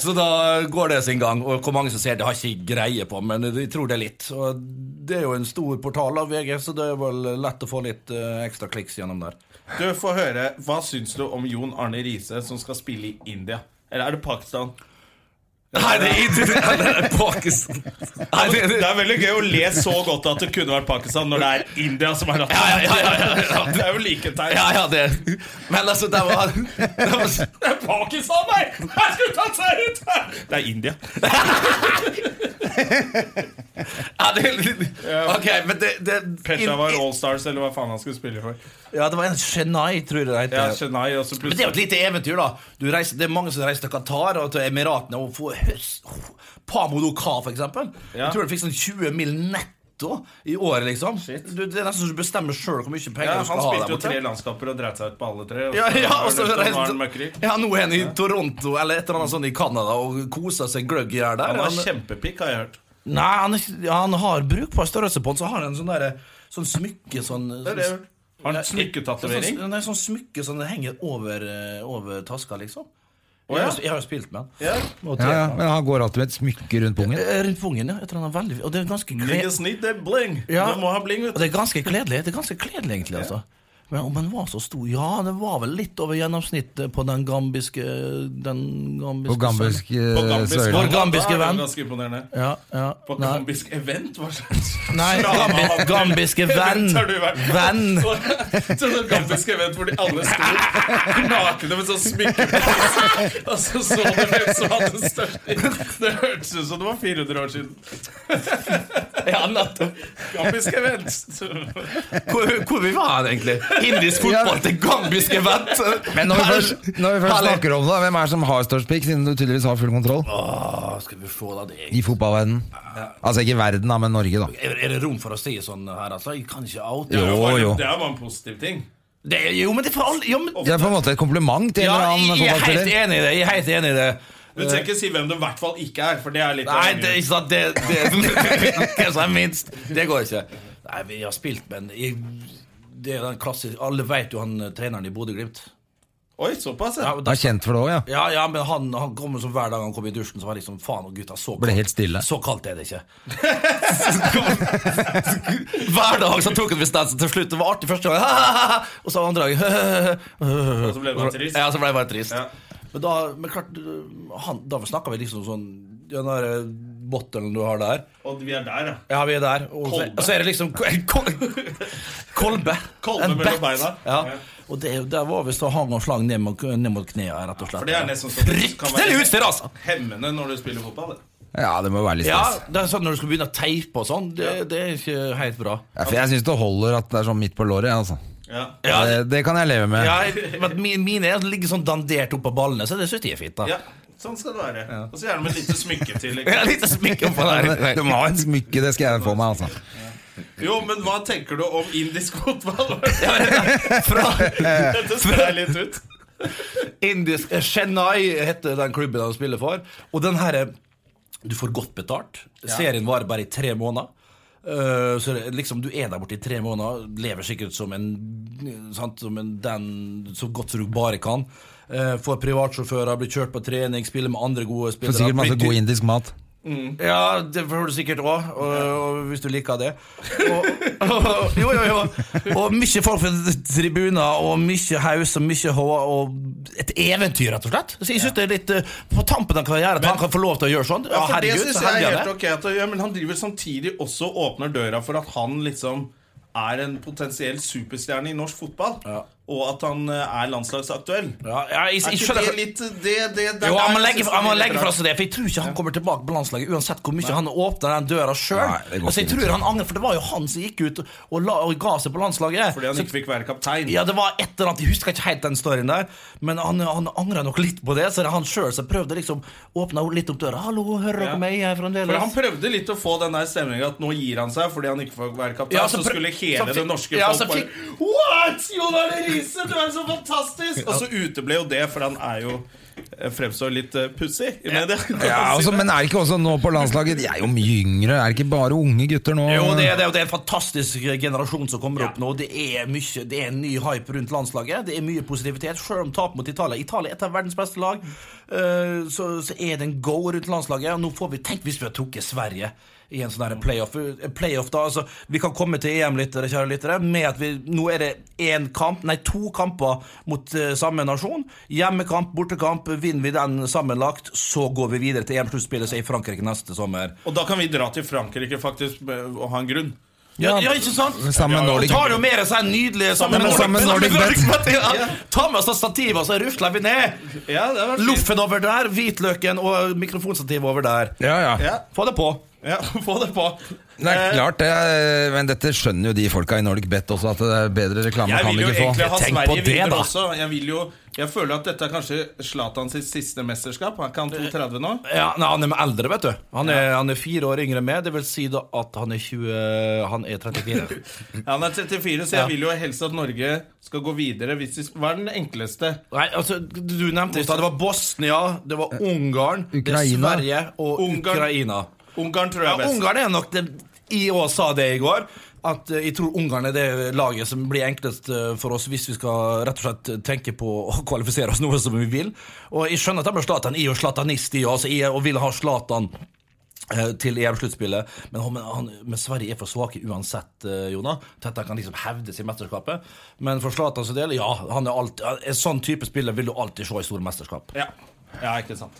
C: så da går det sin gang. Og hvor mange som ser det, har jeg ikke greie på, men jeg tror det er litt. Og det er jo en stor portal av VG, så det er vel lett å få litt eh, ekstra kliks gjennom der.
A: Du får høre, hva synes du om Jon Arne Riese Som skal spille i India? Eller er det Pakistan?
C: Nei, det er ikke det er Pakistan. Nei, det,
A: Det
C: det.
A: er veldig gøy å le så godt at det kunne vært Pakistan når det er India som er
C: Ja, ja, ja, ja, ja, ja.
A: Det er jo liketegn.
C: Ja, ja, det Men altså, det var, det var
A: Det er Pakistan, nei! Jeg skulle tatt seg ut! Det er India.
C: ja, det, Ok, men det, det
A: Peshawar Allstars, eller hva faen han skulle spille for.
C: Ja, det var en Chennai, tror jeg det
A: Ja,
C: heter.
A: Chennai, og så
C: Men det er
A: plutselig
C: jo et lite eventyr, da. Du reiser, det er mange som reiser til Qatar og til Emiratene og får høst Pamodoka, for eksempel.
A: Ja.
C: Jeg tror du fikk sånn 20 mil netto i året, liksom.
A: Shit.
C: Du, det er nesten så du bestemmer sjøl hvor mye penger
A: ja,
C: du
A: Han
C: skal ha
A: spilte
C: der
A: jo
C: borte.
A: tre landskamper og dreit seg ut på alle tre. Og
C: Ja, ja, og
A: så
C: så
A: var han ute, og nå er han
C: reiste
A: møkkrik.
C: Ja, nå er han i Toronto eller et eller annet sånt i Canada og koser seg gløgg i her der.
A: Han var
C: Han-
A: kjempepikk, har jeg hørt.
C: Nei, han, er ikke- han har brukbar størrelse på den, så har han en sånn derre Sånn smykke sånn
A: Det er det. Har han smykketatovering?
C: Sånn, nei, sånn smykke som sånn, det henger over, eh, over taska, liksom.
E: Jeg har jo sp- jeg har jo spilt med han.
A: Ja.
E: Og
B: Ja,
E: tre-
B: ja, men han går alltid med et smykke rundt pungen.
E: Eh, Rundt pungen, ja. Jeg tror han er veldig Og det er ganske gled...
A: Niggas need that bling.
E: Ja.
A: Du må ha bling,
E: Og
A: vet du.
E: det er ganske kledelig, det er ganske kledelig egentlig, altså. Men om han var så stor Ja, det var vel litt over gjennomsnittet på den gambiske Den gambiske
B: På gambisk
A: På
B: eh,
A: gambisk-
B: søyle.
E: Vår gambiske
A: Da er det jo
E: venn.
A: Ganske imponerende.
E: Ja, ja.
A: På
E: Nei.
A: gambisk event? Hva slags
E: Nei,
A: drama
E: gambi,
A: hadde du?
E: gambiske venn.
A: Event har du vært på.
E: Venn.
A: Så, så sånn gambisk event hvor de alle sto nakne med sånn smykke på seg. Og så så du hvem som hadde den største Det hørtes ut som det var 400 år siden.
C: Ja, nettopp.
A: Gambisk event.
C: Hvor, hvor vi var hen, egentlig? Indisk fotball til gambiske vett.
B: Men når vi først, når vi først snakker om det, hvem er det som har størst pikk, siden du tydeligvis har full kontroll?
C: Skal vi se da, det er
B: I fotballverdenen. Altså ikke verden, da, men Norge, da.
C: er, er det rom for å si sånn her, altså? Jeg kan ikke oute.
B: Jo,
A: Det er bare-
B: jo.
A: Det er jo bare en positiv ting.
C: Det er- Jo, men det er for alle ja, men,
B: Det er på en måte et kompliment til en
C: ja,
B: eller annen
C: Jeg er helt
B: fotballspiller.
C: enig i det. Jeg er helt enig i det.
A: Du trenger ikke si hvem du i hvert fall ikke er, for det er litt
C: Nei, det er ikke sant. Det, det, hvem som er minst, det går ikke. Nei, vi har spilt, men jeg, det er den klassiske Alle vet jo han eh, treneren i Bodø-Glimt.
A: Oi, såpass, ja.
C: Ja,
B: Han er kjent for det òg, ja.
C: ja, ja, men han, han kommer som hver dag han kommer i dusjen, så var det liksom Faen, og gutta, så
B: Ble helt stille.
C: Så kaldt er det ikke. Hver dag så tok han distansen til slutt. Det var artig første gang. Og så andre dagen
A: Og så ble det bare trist.
C: Ja, så ble det bare trist.
A: Ja.
C: Men, da, men klart, han, da snakka vi liksom sånn Den der eh, bottelen du har der.
A: Og vi er der, ja.
C: Ja, vi er der. Og så,
A: Kolbe.
C: og så er det liksom en kol, Kolbe.
A: Kolbe
C: En
A: mellom
C: bat.
A: beina.
C: Ja.
A: Ja.
C: Og det, der var visst å hang og slang ned mot, ned mot knærne, rett og slett.
A: For det er nesten sånn kan være
C: Fryktelig utstyr, altså!
A: hemmende når du spiller fotball. det.
B: Ja, det må være litt
C: Ja,
B: stress.
C: det er sånn Når du skal begynne å teipe og sånn, det, det er ikke helt bra.
B: Ja, for jeg syns det holder at det er sånn midt på låret, jeg, altså.
A: Ja.
C: Ja,
B: Det, det kan jeg leve med.
C: ja, men min- Mine er- ligger sånn dandert oppå ballene, så det syns jeg er fint. da
A: ja, sånn skal det være. Og så gjerne med et lite smykke til.
C: Jeg
A: Ikke?
C: har litt smykke oppå
B: Men Du
C: der.
B: må ha et smykke, det skal jeg få meg, altså.
A: Jo, men hva tenker du om indisk fotball?
C: Fra,
A: Dette spør jeg litt ut.
C: Indisk eh, Chennai heter den klubben han spiller for. Og den her eh, Du får godt betalt. Serien varer bare i tre måneder. Eh, så det, er liksom Du er der borte i tre måneder, lever sikkert som en, sant, som en den så godt som du bare kan. Eh, får privatsjåfører, blir kjørt på trening, spiller med andre gode spillere.
B: Får sikkert masse
C: blir
B: god indisk mat.
C: ja, det får du sikkert òg, og, og hvis du liker det. Og, og, jo, jo, jo. Og mye folk fra tribuner, og mye haus og mye hå, og et eventyr, rett og slett. Så jeg synes det er litt eh, på tampen av karrieren at han kan få lov til å gjøre sånn. Ja,
A: Ja, for det
C: herregud,
A: synes
C: så
A: jeg
C: heldig
A: er
C: han
A: helt
C: er.
A: ok. At, ja, men han driver samtidig også og åpner døra for at han liksom er en potensiell superstjerne i norsk fotball. Og at han eh, er landslagsaktuell.
C: Ja, ja, jeg,
A: Er
C: jeg
A: ikke
C: skjønner
A: det litt det, det, det der
C: jo, han må
A: jeg
C: legge,
A: synes
C: han må
A: det blir
C: legge
A: litt
C: fra
A: rart.
C: seg det, for jeg tror ikke han kommer tilbake på landslaget uansett hvor mye han åpner den døra sjøl.
B: Nei, det går
C: Altså, jeg
B: ikke.
C: tror han angrer, for det var jo han som gikk ut og, la, og ga seg på landslaget.
A: Fordi han
C: Så-
A: ikke fikk være kaptein.
C: Ja, det var et eller annet, Jeg husker ikke helt den storyen der, men han, han angra nok litt på det. Så det er han sjøl som prøvde liksom åpna litt opp døra. 'Hallo, hører dere
A: Ja.
C: meg? Jeg er
A: For
C: fremdeles
A: Han prøvde litt å få den der stemninga at nå gir han seg fordi han ikke får være kaptein.
C: Ja,
A: så,
C: så prø-
A: skulle
C: så
A: hele
C: fikk-
A: det norske
C: ja, så
A: folk
C: fikk-
A: bare What?! Jon Arne Riise, du er så fantastisk! Og så uteble jo det, for han er jo eh, fremstår litt uh, pussig i media. kan man
B: Ja,
A: si
B: altså,
A: det.
B: men er det ikke også nå på landslaget De er jo mye yngre, er det ikke bare unge gutter nå?
C: Jo, det er, det, og det er en fantastisk generasjon som kommer opp nå. Det er mye, det er en ny hype rundt landslaget. Det er mye positivitet, sjøl om tap mot Italia. Italia er et av verdens beste lag. eh, så, så er det en go rundt landslaget. Og nå får vi, Tenk hvis vi har trukket Sverige i en sånn her playoff. eh, playoff da, altså, vi kan komme til EM, lyttere, kjære lyttere, med at vi, nå er det én kamp, nei, to kamper mot eh, samme nasjon. Hjemmekamp, bortekamp. Vinner vi den sammenlagt, så går vi videre til EM-sluttspillet som er i Frankrike neste sommer.
A: Og da kan vi dra til Frankrike faktisk med- og ha en grunn.
C: Ja, ja, ikke sant?
B: Sammen
C: ja,
B: Nordic-
C: Vi tar jo med oss den nydelige
A: Sammen med
B: Nordic- Nordic
C: Bet. Ja. Ta med oss da stativet, så rusler vi ned.
A: Ja, det var fint.
C: Loffen over der, hvitløken og mikrofonstativet over der.
B: Ja, ja.
A: Ja,
C: Få det på.
A: ja, få det på.
B: Det er
A: Eh,
B: klart, det. er- Men dette skjønner jo de folka i Nordic Bet også, at det er bedre reklame
A: Jeg
B: kan
A: vil
B: du
A: jo
B: ikke
A: egentlig
B: få.
A: ha
C: Tenk på
A: Sverige
C: det,
A: videre
C: da.
A: også. Jeg, vil jo, jeg føler at dette er kanskje Zlatan sitt siste mesterskap. Han kan 32 nå.
C: Ja, nei, Han er med eldre, vet du. Han er, han er fire år yngre enn meg. Det vil si da at han er 20 Han er 34.
A: Ja, Han er 34, så jeg vil jo helst at Norge skal gå videre. Hvis de, hva er den enkleste?
C: Nei, altså, Du nevnte i stad det var Bosnia, det var Ungarn, det er
B: Ukraina.
C: Sverige og
A: Ungarn.
C: Ukraina.
A: Ungarn tror jeg
C: Ja,
A: er best.
C: Ungarn er nok det IÅ sa det i går. at eh, jeg tror Ungarn er det laget som blir enklest eh, for oss hvis vi skal rett og slett tenke på å kvalifisere oss noe som vi vil. Og jeg skjønner at det blir Zlatan. Jeg er jo Zlatanist, jeg, altså, jeg er- og vil ha Zlatan eh, til EM-sluttspillet. Men, han, han, men Sverige er for svake uansett, eh, Jonah. Til at han kan liksom hevdes i mesterskapet. Men for Zlatans del, ja. Han er alt, en sånn type spiller vil du alltid se i store mesterskap.
A: Ja, ja ikke sant.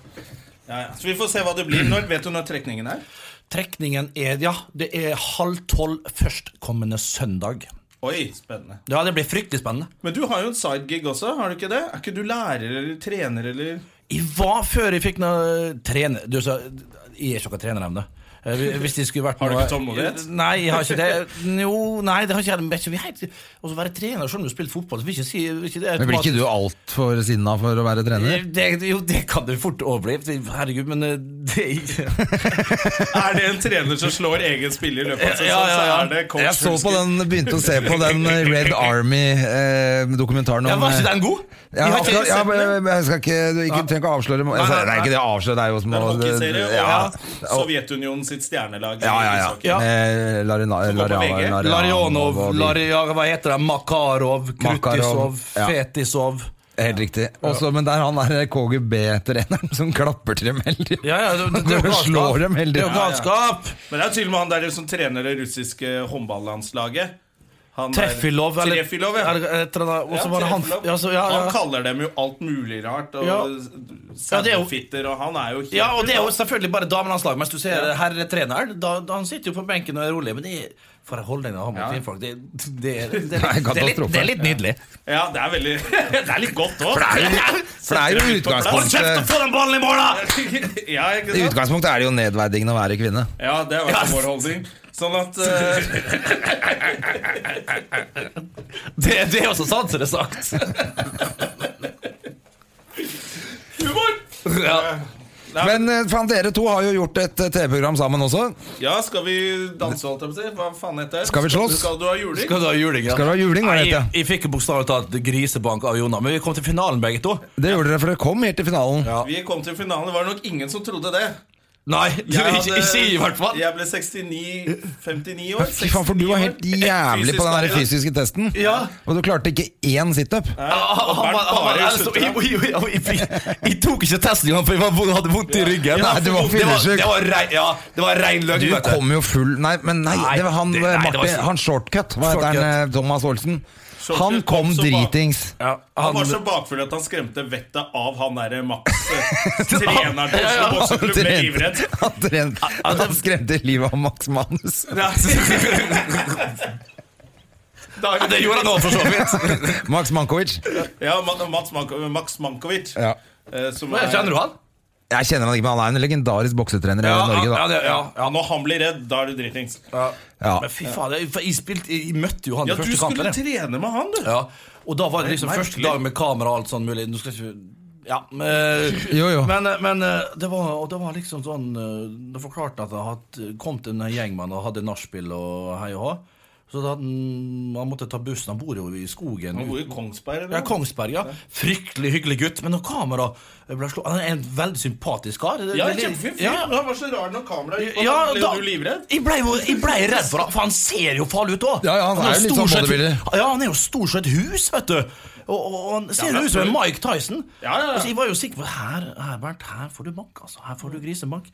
A: Ja, ja. Så vi får se hva det blir. Når, vet du når trekningen er?
C: Trekningen er, ja, det er halv tolv førstkommende søndag.
A: Oi, spennende.
C: Ja, det blir fryktelig spennende.
A: Men du har jo en sidegig også, har du ikke det? Er ikke du lærer eller trener eller
C: Jeg var før jeg fikk noe trener... Du sa Jeg er ikke noe trenerevne. Eh, Hvis det skulle vært
A: Har du
C: noe- Eh,
A: ikke tålmodighet?
C: Nei, jeg har ikke det. Jo, nei, det har ikke jeg. Men vet ikke, vi er helt- Og så være trener, selv om du har spilt fotball, så vil ikke si vil ikke det
B: Men blir ikke du
C: automatisk-
B: altfor sinna for å være trener?
C: det, Jo, det kan du fort overbli. Herregud, men eh, det
A: Er det en trener som slår egen spiller i løpet av sesongen,
C: Ja, ja, ja.
A: så er det coach
B: Jeg så på den, begynte å se på den Red Army-dokumentaren
C: Ja,
B: om eh,
C: Var ikke den god?
B: Ja,
C: Jeg har ikke
B: akkurat- ja,
C: sett den.
B: men jeg skal ikke, du ikke, trenger ikke å avsløre må-
C: nei,
B: Det er ikke
C: nei.
B: det å avsløre, det er jo som
A: Det er en
B: å-
A: hockeyserie og
B: ja, og-
A: Sovjetunionen sitt stjernelag. i
B: ja, Eh, ja, ja.
A: ishockey.
C: Ja.
B: Med Larina,
A: går på
B: Larina,
A: VG.
B: Larina-
C: Larionov,
B: og de-
C: Laria, hva heter det? Makarov,
B: Makarov,
C: Krutisov,
B: ja.
C: Fetisov
B: Helt riktig. Også, men det er han der eh, KGB-treneren som klapper til dem hele tiden.
C: Ja, ja, det, det,
B: går
C: er jo
B: og slår
C: galskap.
B: dem hele
C: Det er jo
B: tiden.
C: galskap!
A: Men det er jo til og med han der som trener det russiske håndballandslaget. Han der-
C: Treffilov, eller,
A: Trefilov, ja.
C: eller et eller annet. Og så
A: Ja,
C: var det han
A: Trefilov.
C: ja, så, ja,
A: Han
C: ja.
A: kaller dem jo alt mulig rart. Og
C: Ja. Ja, det er jo-
A: sauefitter, og han er jo helt
C: ja, og det er jo selvfølgelig bare damelandslag, mens du ser herretreneren. Da, da han sitter jo på benken og er rolig. Men det er for en holdning han har mot
A: Ja.
C: kvinnfolk. Det, det, er- det,
B: Nei,
C: er- det, er litt-
B: katastrofe.
C: det er litt nydelig.
A: Ja, det er veldig Det er litt godt òg.
B: For det er jo i
C: Hold kjeft og
B: utgangspunktet
C: få den ballen i mål, da!
A: ja, ikke
B: I
A: sant?
B: utgangspunktet er det jo nedverdigende å være kvinne.
A: Ja, det var vært vår holdning. Sånn at eh,
C: Det, det er også sant, som det er sagt.
A: Humor!
C: Ja.
B: Men eh, faen, dere to har jo gjort et eh, TV-program sammen også.
A: Ja, skal vi danse, holdt jeg på å si? Hva faen heter det?
B: Skal vi slåss?
A: Skal du ha juling?
C: Skal du ha juling? ja?
B: Skal du ha juling, hva
C: Nei,
B: heter
C: jeg, jeg fikk jo bokstavelig talt grisebank av Jonna, men vi kom til finalen begge to.
B: Det gjorde dere, for dere kom helt til finalen.
C: Ja.
A: Vi kom til finalen. Det var nok ingen som trodde det.
C: Nei, du,
A: Jeg
C: ikke,
A: hadde-
C: ikke i hvert fall.
A: Jeg ble 69 59 år.
B: Fy faen, for du
A: 69 år.
B: var helt jævlig på den der
A: Fysisk
B: fysiske testen.
C: Ja.
B: Og du klarte ikke én situp.
A: Ja,
C: Han
A: og
C: han
A: Bernt
C: var, han var,
A: Barer
C: altså,
A: slutter.
C: jeg, jeg, jeg, jeg, jeg tok ikke testen engang, for jeg var, hadde vondt i ryggen.
B: Nei, du var
C: det var,
B: fyllesyk.
C: det var, rein, ja, det var rein løgn.
B: Du
C: vet du.
B: kom jo full Nei, men nei,
C: Nei,
B: det var han eh,
C: det- nei, det var
B: Martin,
C: ikke-
B: han shortcut. Hva heter han? eh, Thomas Olsen.
A: Shortcut
B: Han kom
A: kom så bra.
B: dritings.
C: Ja,
A: Han var
C: han-
A: så bakfull at han skremte vettet av han derre Max, eh, treneren til
C: Ja, ja,
A: Oslo
C: ja.
A: Bokseklubb, med livredd.
B: han, trent, han skremte livet av Max Manus.
C: Ja, det gjorde han òg, for så vidt.
B: Max Mankovic.
A: Ja, Ma- Mats Manko, Max Mankovic.
B: Ja.
A: eh, Som
C: Men Kjenner du han?
B: Jeg kjenner han ikke, men han er en legendarisk boksetrener i Norge,
C: ja,
B: da.
C: det- ja,
A: Ja, når han blir redd, da er du dritings.
B: Ja.
C: Men fy faen, jeg, for jeg, spilte, jeg møtte jo han
A: Ja,
C: i
A: du
C: første kampen.
A: skulle
C: jeg.
A: trene med han, du.
C: Ja, og da var det liksom
A: Nei,
C: første
A: merkelig.
C: dag med kamera og alt sånn mulig. Nå skal ikke ja, men,
B: Jo, jo.
C: men, eh, men det var, og det var liksom sånn eh, Da forklarte han at det hadde kom til en gjengmann og hadde nachspiel og hei og hå. Så da hadde han, han måtte ta bussen. Han bor jo i skogen.
A: Han bor i Kongsberg. eller
C: Ja,
A: noe?
C: Kongsberg, ja. Fryktelig hyggelig gutt. Men når kamera ble slått Han er en veldig sympatisk kar. Det-
A: Ja,
C: det-
A: kjempefin fyr.
C: Ja,
A: Han var så rar når kameraet gikk på.
C: ja,
A: da ble
C: da,
A: du livredd.
C: Jeg blei ble redd for han, for han ser jo farlig ut òg.
B: Ja, ja, han er jo litt sånn bodybuilder.
C: Ja, han er jo stort sett hus, vet du. Og, og, og han ser
A: Ja,
C: jo
A: men-
C: ut som en Mike Tyson.
A: Ja, ja, ja.
C: Altså, jeg var jo sikker på her, her, Bernt, her får du bank, altså. Her får du grisebank.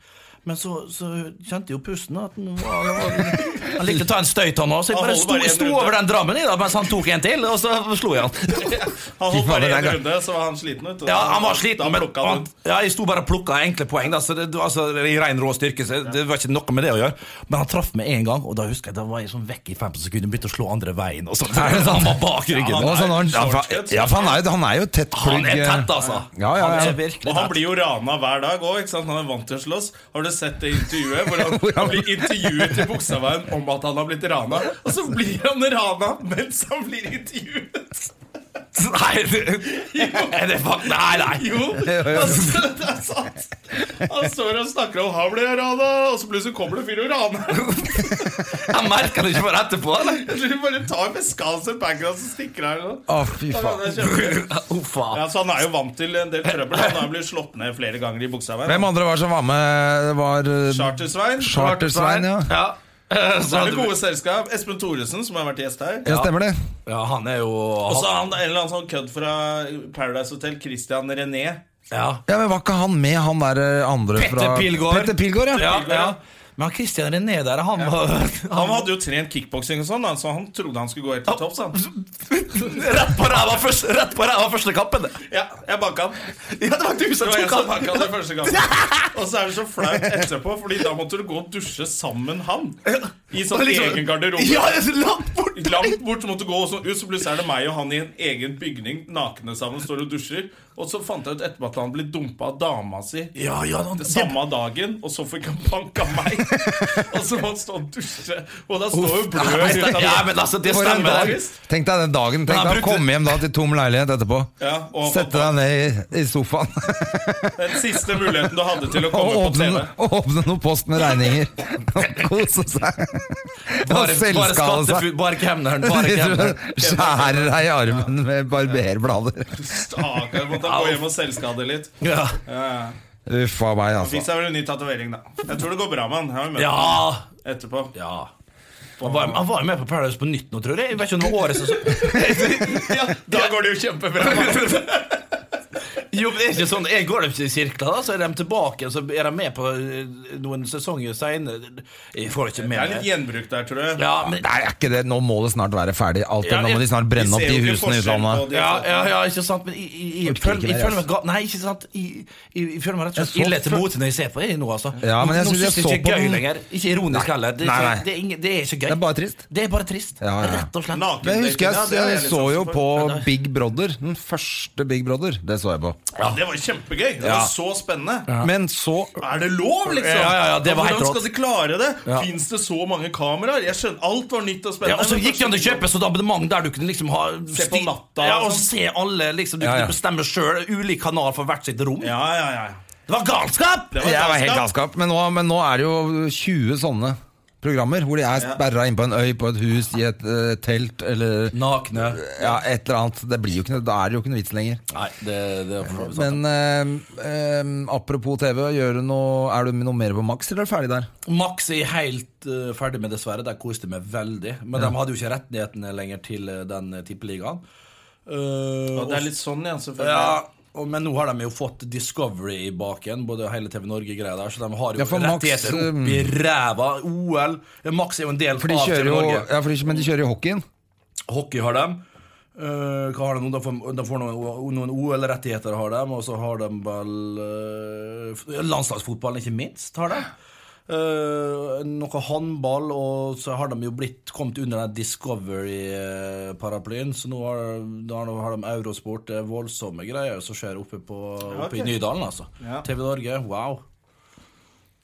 C: Men så, så kjente jeg jo pusten at han var han- Han likte å ta en støyt, han òg, så jeg
A: Han
C: bare
A: holder
C: sto,
A: bare en
C: sto
A: runde.
C: over den drammen i da, mens han tok en til, og så slo jeg han.
A: Han holdt
B: faen,
A: bare
B: det er
A: en
B: gøy.
A: runde, så var han sliten ut. og
C: Ja,
A: da-
C: han var sliten,
A: Da
C: men
A: plukka han
C: han,
A: ut.
C: ja, jeg sto bare og plukka enkle poeng. Da, så det, det- altså, det er I ren rå styrke. Så det var ikke noe med det å gjøre. Men han traff med en gang, og da husker jeg, da var jeg sånn vekk i 15 sekunder og begynte å slå andre veien. Og sånt. han var bak ryggen.
A: Ja,
B: Og så når sånn han, ja, fa- ja, for han er jo, han er jo tett plugg. eh,
C: han er tett, altså.
B: Ja, ja, ja.
C: Han er virkelig
A: Og han
C: tett.
A: blir jo rana hver dag òg. Han er vant til å slåss. Har du sett det intervjuet? Hvor han,
B: Hvor
A: han
B: han-
A: blir intervjuet i Buksaveien om at han har blitt rana. Og så blir han rana mens han blir intervjuet!
C: Nei, det, er det fuck, nei, nei.
A: Jo, altså, det er sant! Han står og snakker om 'han ble rana', og så plutselig kommer det en fyr og raner.
C: Jeg merka det ikke bare etterpå. Eller?
A: Jeg tror de bare tar Vescals og Pancras og stikker av. eller noe.
B: Å, fy
A: Da kan
B: faen.
A: det kjempe-
C: Uff, faen.
A: Ja, så han er jo vant til en del trøbbel. Han har blitt slått ned flere ganger i Buksaveien.
B: Hvem andre var som var med? Det var eh,
A: Chartersvein.
B: Chartersvein, ja.
C: Ja.
A: Så er det gode selskap. Espen Thoresen, som har vært gjest her.
B: Ja, stemmer det.
C: Ja, han er jo
A: Og så er han en eller annen sånn kødd fra Paradise Hotel, Christian René.
C: ja.
B: Ja, men Var ikke han med, han der eh, andre
C: Petter
B: fra
C: Pilgaard.
B: Petter Pilgaard, ja.
C: Ja, ja. Men han Christian René der, han var
A: Han hadde jo trent kickboksing og sånn, da, så han trodde han skulle gå helt til topps. han.
C: Rett på ræva først- rett på ræva første kappen! det.
A: Ja, jeg banka han.
C: Ja, det var du
A: Det
C: som
A: var jeg
C: tok
A: som
C: han!
A: pakka det første gangen. Og så er det så flaut etterpå, Fordi da måtte du gå og dusje sammen han. I sånn egen garderobe.
C: Ja, langt bort!
A: Langt bort så måtte du gå og sånn ut, så plutselig er det meg og han i en egen bygning, nakne sammen, står og dusjer. Og så fant jeg ut etterpå at han ble dumpa av dama si.
C: Ja, ja, han,
A: Det samme dagen, og så fikk han bank av meg. Og så må han stå og dusje. Og da står jo bløt ut av
C: ja, men altså, det
B: For en
C: stemmer.
B: dag.
C: det.
B: Tenk deg den dagen. Tenk
C: han
B: deg å
C: brukte-
B: komme hjem da til tom leilighet etterpå.
A: Ja, og-
B: Sette deg ned i, i sofaen
A: Den siste muligheten du hadde til å
B: og
A: komme på TV.
B: åpne, og åpne noe post med regninger. Og kose seg. Og
C: Bare, bare
B: selvskade seg.
C: skattefu- bare kemneren. Bare kemneren.
B: Skjærer deg i armen med barberblader.
A: Stakkar, måtte han gå hjem og selvskade litt.
C: Ja.
B: Uff a meg,
A: Fikk
B: altså.
A: seg vel en ny tatovering, da. Jeg tror det går bra med han. Jeg har jo møtt
C: ja.
A: han etterpå.
C: ja. Han var, han var jo med på Paradise på nytt nå, tror jeg. Jeg vet ikke om det var årets sesong.
A: Ja, da går det jo kjempebra.
C: Jo, men det er ikke sånn Jeg går ikke i sirkler, da, så er de tilbake, så er de med på eh, noen sesonger seinere. Jeg får
A: Det
C: ikke
A: er
C: med
A: litt
C: meg.
A: gjenbruk der, tror jeg.
C: Ja,
B: Nei,
C: men
B: er ikke det. Nå må det snart være ferdig. Alt,
C: Ja,
B: nå må de snart
A: Vi
B: brenne opp
A: ser
B: de
A: jo ikke
B: husene i
A: forskjell på
B: utlandet.
A: de-
C: ja, ja, ja, ikke sant? Men jeg, jeg, jeg,
B: Orker ikke
C: føler, jeg
B: det,
C: føler meg
B: altså.
C: ga... Nei, ikke sant? Jeg, jeg, jeg føler meg rett og
B: Jeg
C: slett
B: så
C: ille til
B: før-
C: mote når jeg ser på det nå, altså.
B: Ja, men jeg
C: nå
B: synes jeg
C: synes det
B: så på
C: ikke er gøy
B: den-
C: lenger. Ikke ironisk heller. Det er,
B: Nei,
C: ikke-
B: nei.
C: Det, er ingen, det er ikke gøy.
B: Det er bare trist.
C: Det er bare trist.
B: Ja, ja, ja.
C: Rett og slett.
A: Naken-
B: Men jeg husker
A: Ja,
B: jeg,
A: det er
B: jeg
A: litt sånn
B: så jo
A: sansen for.
B: på Big Brother. Den første Big Brother. Det så jeg på.
A: Ja, det var kjempegøy. Det var så spennende.
B: Men så
A: Er det lov, liksom?
C: Ja, ja, ja, det var helt
A: Hvordan
C: rått.
A: skal de klare det? Fins det så mange kameraer? Jeg skjønner, Alt var nytt og
C: Ja,
A: spennende.
C: og så
A: men
C: gikk det an å
A: kanskje-
C: kjøpe sånn abonnement der du kunne liksom ha
A: Se på
C: sti-
A: natta og
C: Ja, og
A: sånn.
C: se alle liksom Du
B: Ja, ja.
C: kunne bestemme sjøl. Ulik kanal for hvert sitt rom.
A: Ja, ja, ja.
C: Det var galskap!
A: Det
B: Jeg var helt
A: galskap.
B: galskap. Men nå, men nå er det jo 20 sånne programmer hvor de er sperra inn på en øy, på et hus, i et eh, telt eller
C: Nakne.
B: ja, et eller annet. Det blir jo ikke, noe- da er det jo ikke noe vits lenger.
C: Nei, det, det er for så vidt sant.
B: Men eh, eh, apropos TV, gjør du noe, er du noe mer på Max, eller er du ferdig der?
C: Max er jeg helt eh, ferdig med, dessverre. Der koste jeg meg veldig. Men de hadde jo ikke rettighetene lenger til eh, den eh, tippeligaen. Eh,
A: Og Det er litt sånn, ja. Selvfølgelig.
C: ja, og, men nå har de jo fått Discovery i baken, både hele TV Norge-greia der, så de har jo
B: Ja, for Max,
C: rettigheter
B: um,
C: opp i ræva. OL ja, Max er jo en del
B: For de
C: av
B: kjører
C: TV
B: jo,
C: Norge.
B: ja, for de, men de kjører jo hockeyen.
C: Hockey har de. Eh, hva har de nå? De får, de får noen, noen OL-rettigheter, har de. Og så har de vel eh, Landslagsfotballen, ikke minst, har de. Eh, noe håndball, og så har de jo blitt kommet under den Discovery-paraplyen. Så nå har, da har de- har de Eurosport. Det er voldsomme greier som skjer oppe, på, oppe i Nydalen, altså.
A: Ja.
C: TV Norge, wow.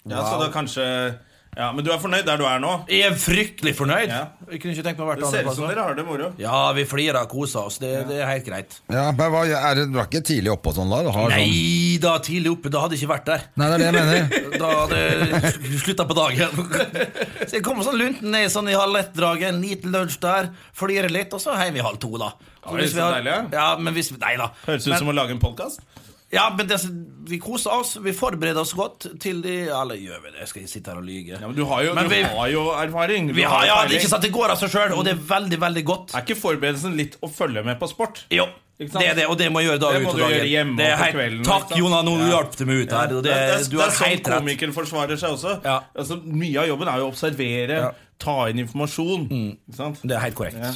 A: Ja, så da kanskje Ja, Men du er fornøyd der du er nå?
C: Jeg er fryktelig fornøyd!
A: Ja.
C: Jeg kunne ikke tenkt meg å vært
A: Det ser ut som
C: annerledes.
A: dere har det moro.
C: Ja, vi flirer og koser oss. Det, det er helt greit.
B: Ja, men hva, er det, Du er ikke tidlig oppe og sånn da? Du har sånn,
C: Nei da, tidlig oppe. Da hadde jeg ikke vært der.
B: nei, det er det jeg mener.
C: Da hadde jeg slutta på dagen. Så jeg kommer sånn lunten ned sånn i halv ett-draget, en liten lunsj der, flirer litt, og så hjem i halv to, da.
A: det
C: Så
A: er
C: hvis vi
A: så
C: har-
A: deilig,
C: ja, men hvis vi, Nei da.
A: Høres ut
C: Men-
A: som å lage en podkast.
C: Ja, men det, vi koser oss. Vi forbereder oss godt til de Eller gjør vi det? Skal jeg sitte her og lyge?
A: Ja, men du har jo,
C: Men
A: du
C: vi-
A: har jo erfaring. Du
C: vi har, ja,
A: peiling.
C: det er ikke sant, det går av seg sjøl, og det er veldig, veldig godt.
A: Er ikke forberedelsen litt å følge med på sport?
C: Jo,
A: Ikke
C: det
A: sant?
C: er det, og det må jeg gjøre dag
A: Det
C: ut
A: må
C: og
A: du
C: dag
A: gjøre hjemme
C: inn. Det er
A: og på
C: helt-
A: kvelden,
C: Takk,
A: ikke sant?
C: Jona, nå
A: Ja.
C: hjalp du meg ut her. Og
A: Det, er- det
C: det,
A: er-
C: du
A: det
C: har
A: er sånn
C: helt rett.
A: komikeren forsvarer seg også.
C: Ja.
A: Altså, mye av jobben er jo å observere, ta inn informasjon.
C: Mm.
A: Ikke sant?
C: Det er helt korrekt.
A: Ja.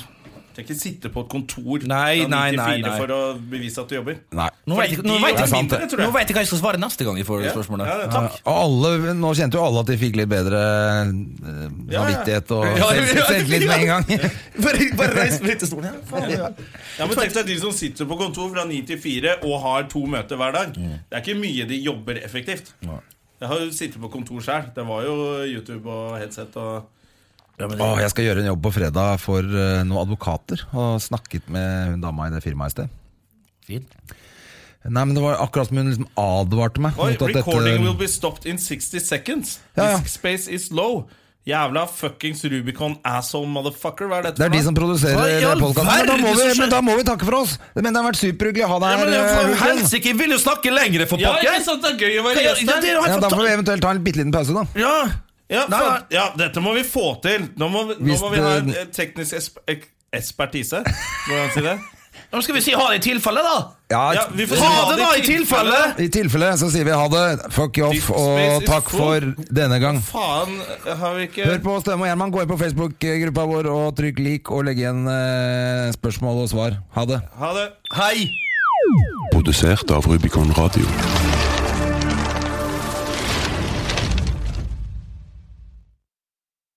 A: Du kan ikke sitte på et kontor
C: Nei,
A: fra
C: nei,
A: 9 til
C: nei,
A: 4
C: nei.
A: for å bevise at du jobber.
B: Nei.
C: Nå
A: Fordi
C: vet
A: de
C: jeg, nå vet
A: jobber
C: jeg,
B: sant,
A: mindre, tror
C: nå
A: jeg.
C: vet jeg hva jeg skal svare neste gang jeg får det spørsmålet.
A: Ja, ja, takk.
B: Og alle, nå kjente jo alle at de fikk litt bedre eh, samvittighet og
C: Ja, ja,
B: selv-
C: ja.
B: selvtillit med en gang.
C: Bare, bare reis litt i stolen. Ja.
A: Ja, men Tenk deg de som sitter på kontor fra 9 til 4 og har to møter hver dag. Det er ikke mye de jobber effektivt. Jeg har jo sittet på kontor sjøl. Det var jo YouTube og headset og
B: Å, jeg skal gjøre en jobb på fredag for eh, noen advokater. Og snakket med hun dama i det firmaet i sted.
C: Fint.
B: Nei, men Det var akkurat som hun liksom advarte meg.
A: Oi,
B: mot at dette- eh,
A: recording will be stopped in 60 seconds.
B: Ja, ja.
A: Disk space is low. Jævla fuckings Rubicon asshole motherfucker. Hva er dette
B: Det er de
A: for noe?
B: som
C: Hva i
B: produserer
C: all
B: podkasten. Men, da
C: verden
B: må vi-
C: som skjer?
B: men da må vi takke for oss! Men det har vært superhyggelig å ha
C: Ja,
B: deg
C: men
B: her.
C: for
B: eh, Rudolf.
C: helsike, jeg vil jo snakke lengre for
A: Ja,
C: pokker!
A: ikke sant, det er gøy å være
C: Ja,
A: gjest
C: ja,
A: her.
C: det er jo
B: Ja,
C: helt
B: Da får vi
C: fanta-
B: eventuelt ta en bitte liten pause, da.
C: Ja.
A: Ja,
B: Nei.
A: faen. ja, dette må vi få til. Nå må vi, nå
B: Hvis
A: må vi ha en
B: det-
A: en teknisk esp ek- ekspertise. Hvordan si det?
D: Nå skal vi si ha det i tilfelle, da!
B: Ja,
A: Ja, vi får
D: Ha
A: si
D: det, da, i tilfelle!
B: I tilfelle så sier vi ha det, fuck you off, og
A: Space is
B: takk
A: full.
B: for denne gang.
A: Faen, har vi ikke
B: Hør på Støme og Gjerman, gå inn på Facebook-gruppa vår og trykk lik og legg igjen eh, spørsmål og svar. Ha det.
A: Ha det.
D: Hei!
F: Produsert av Rubicon Radio.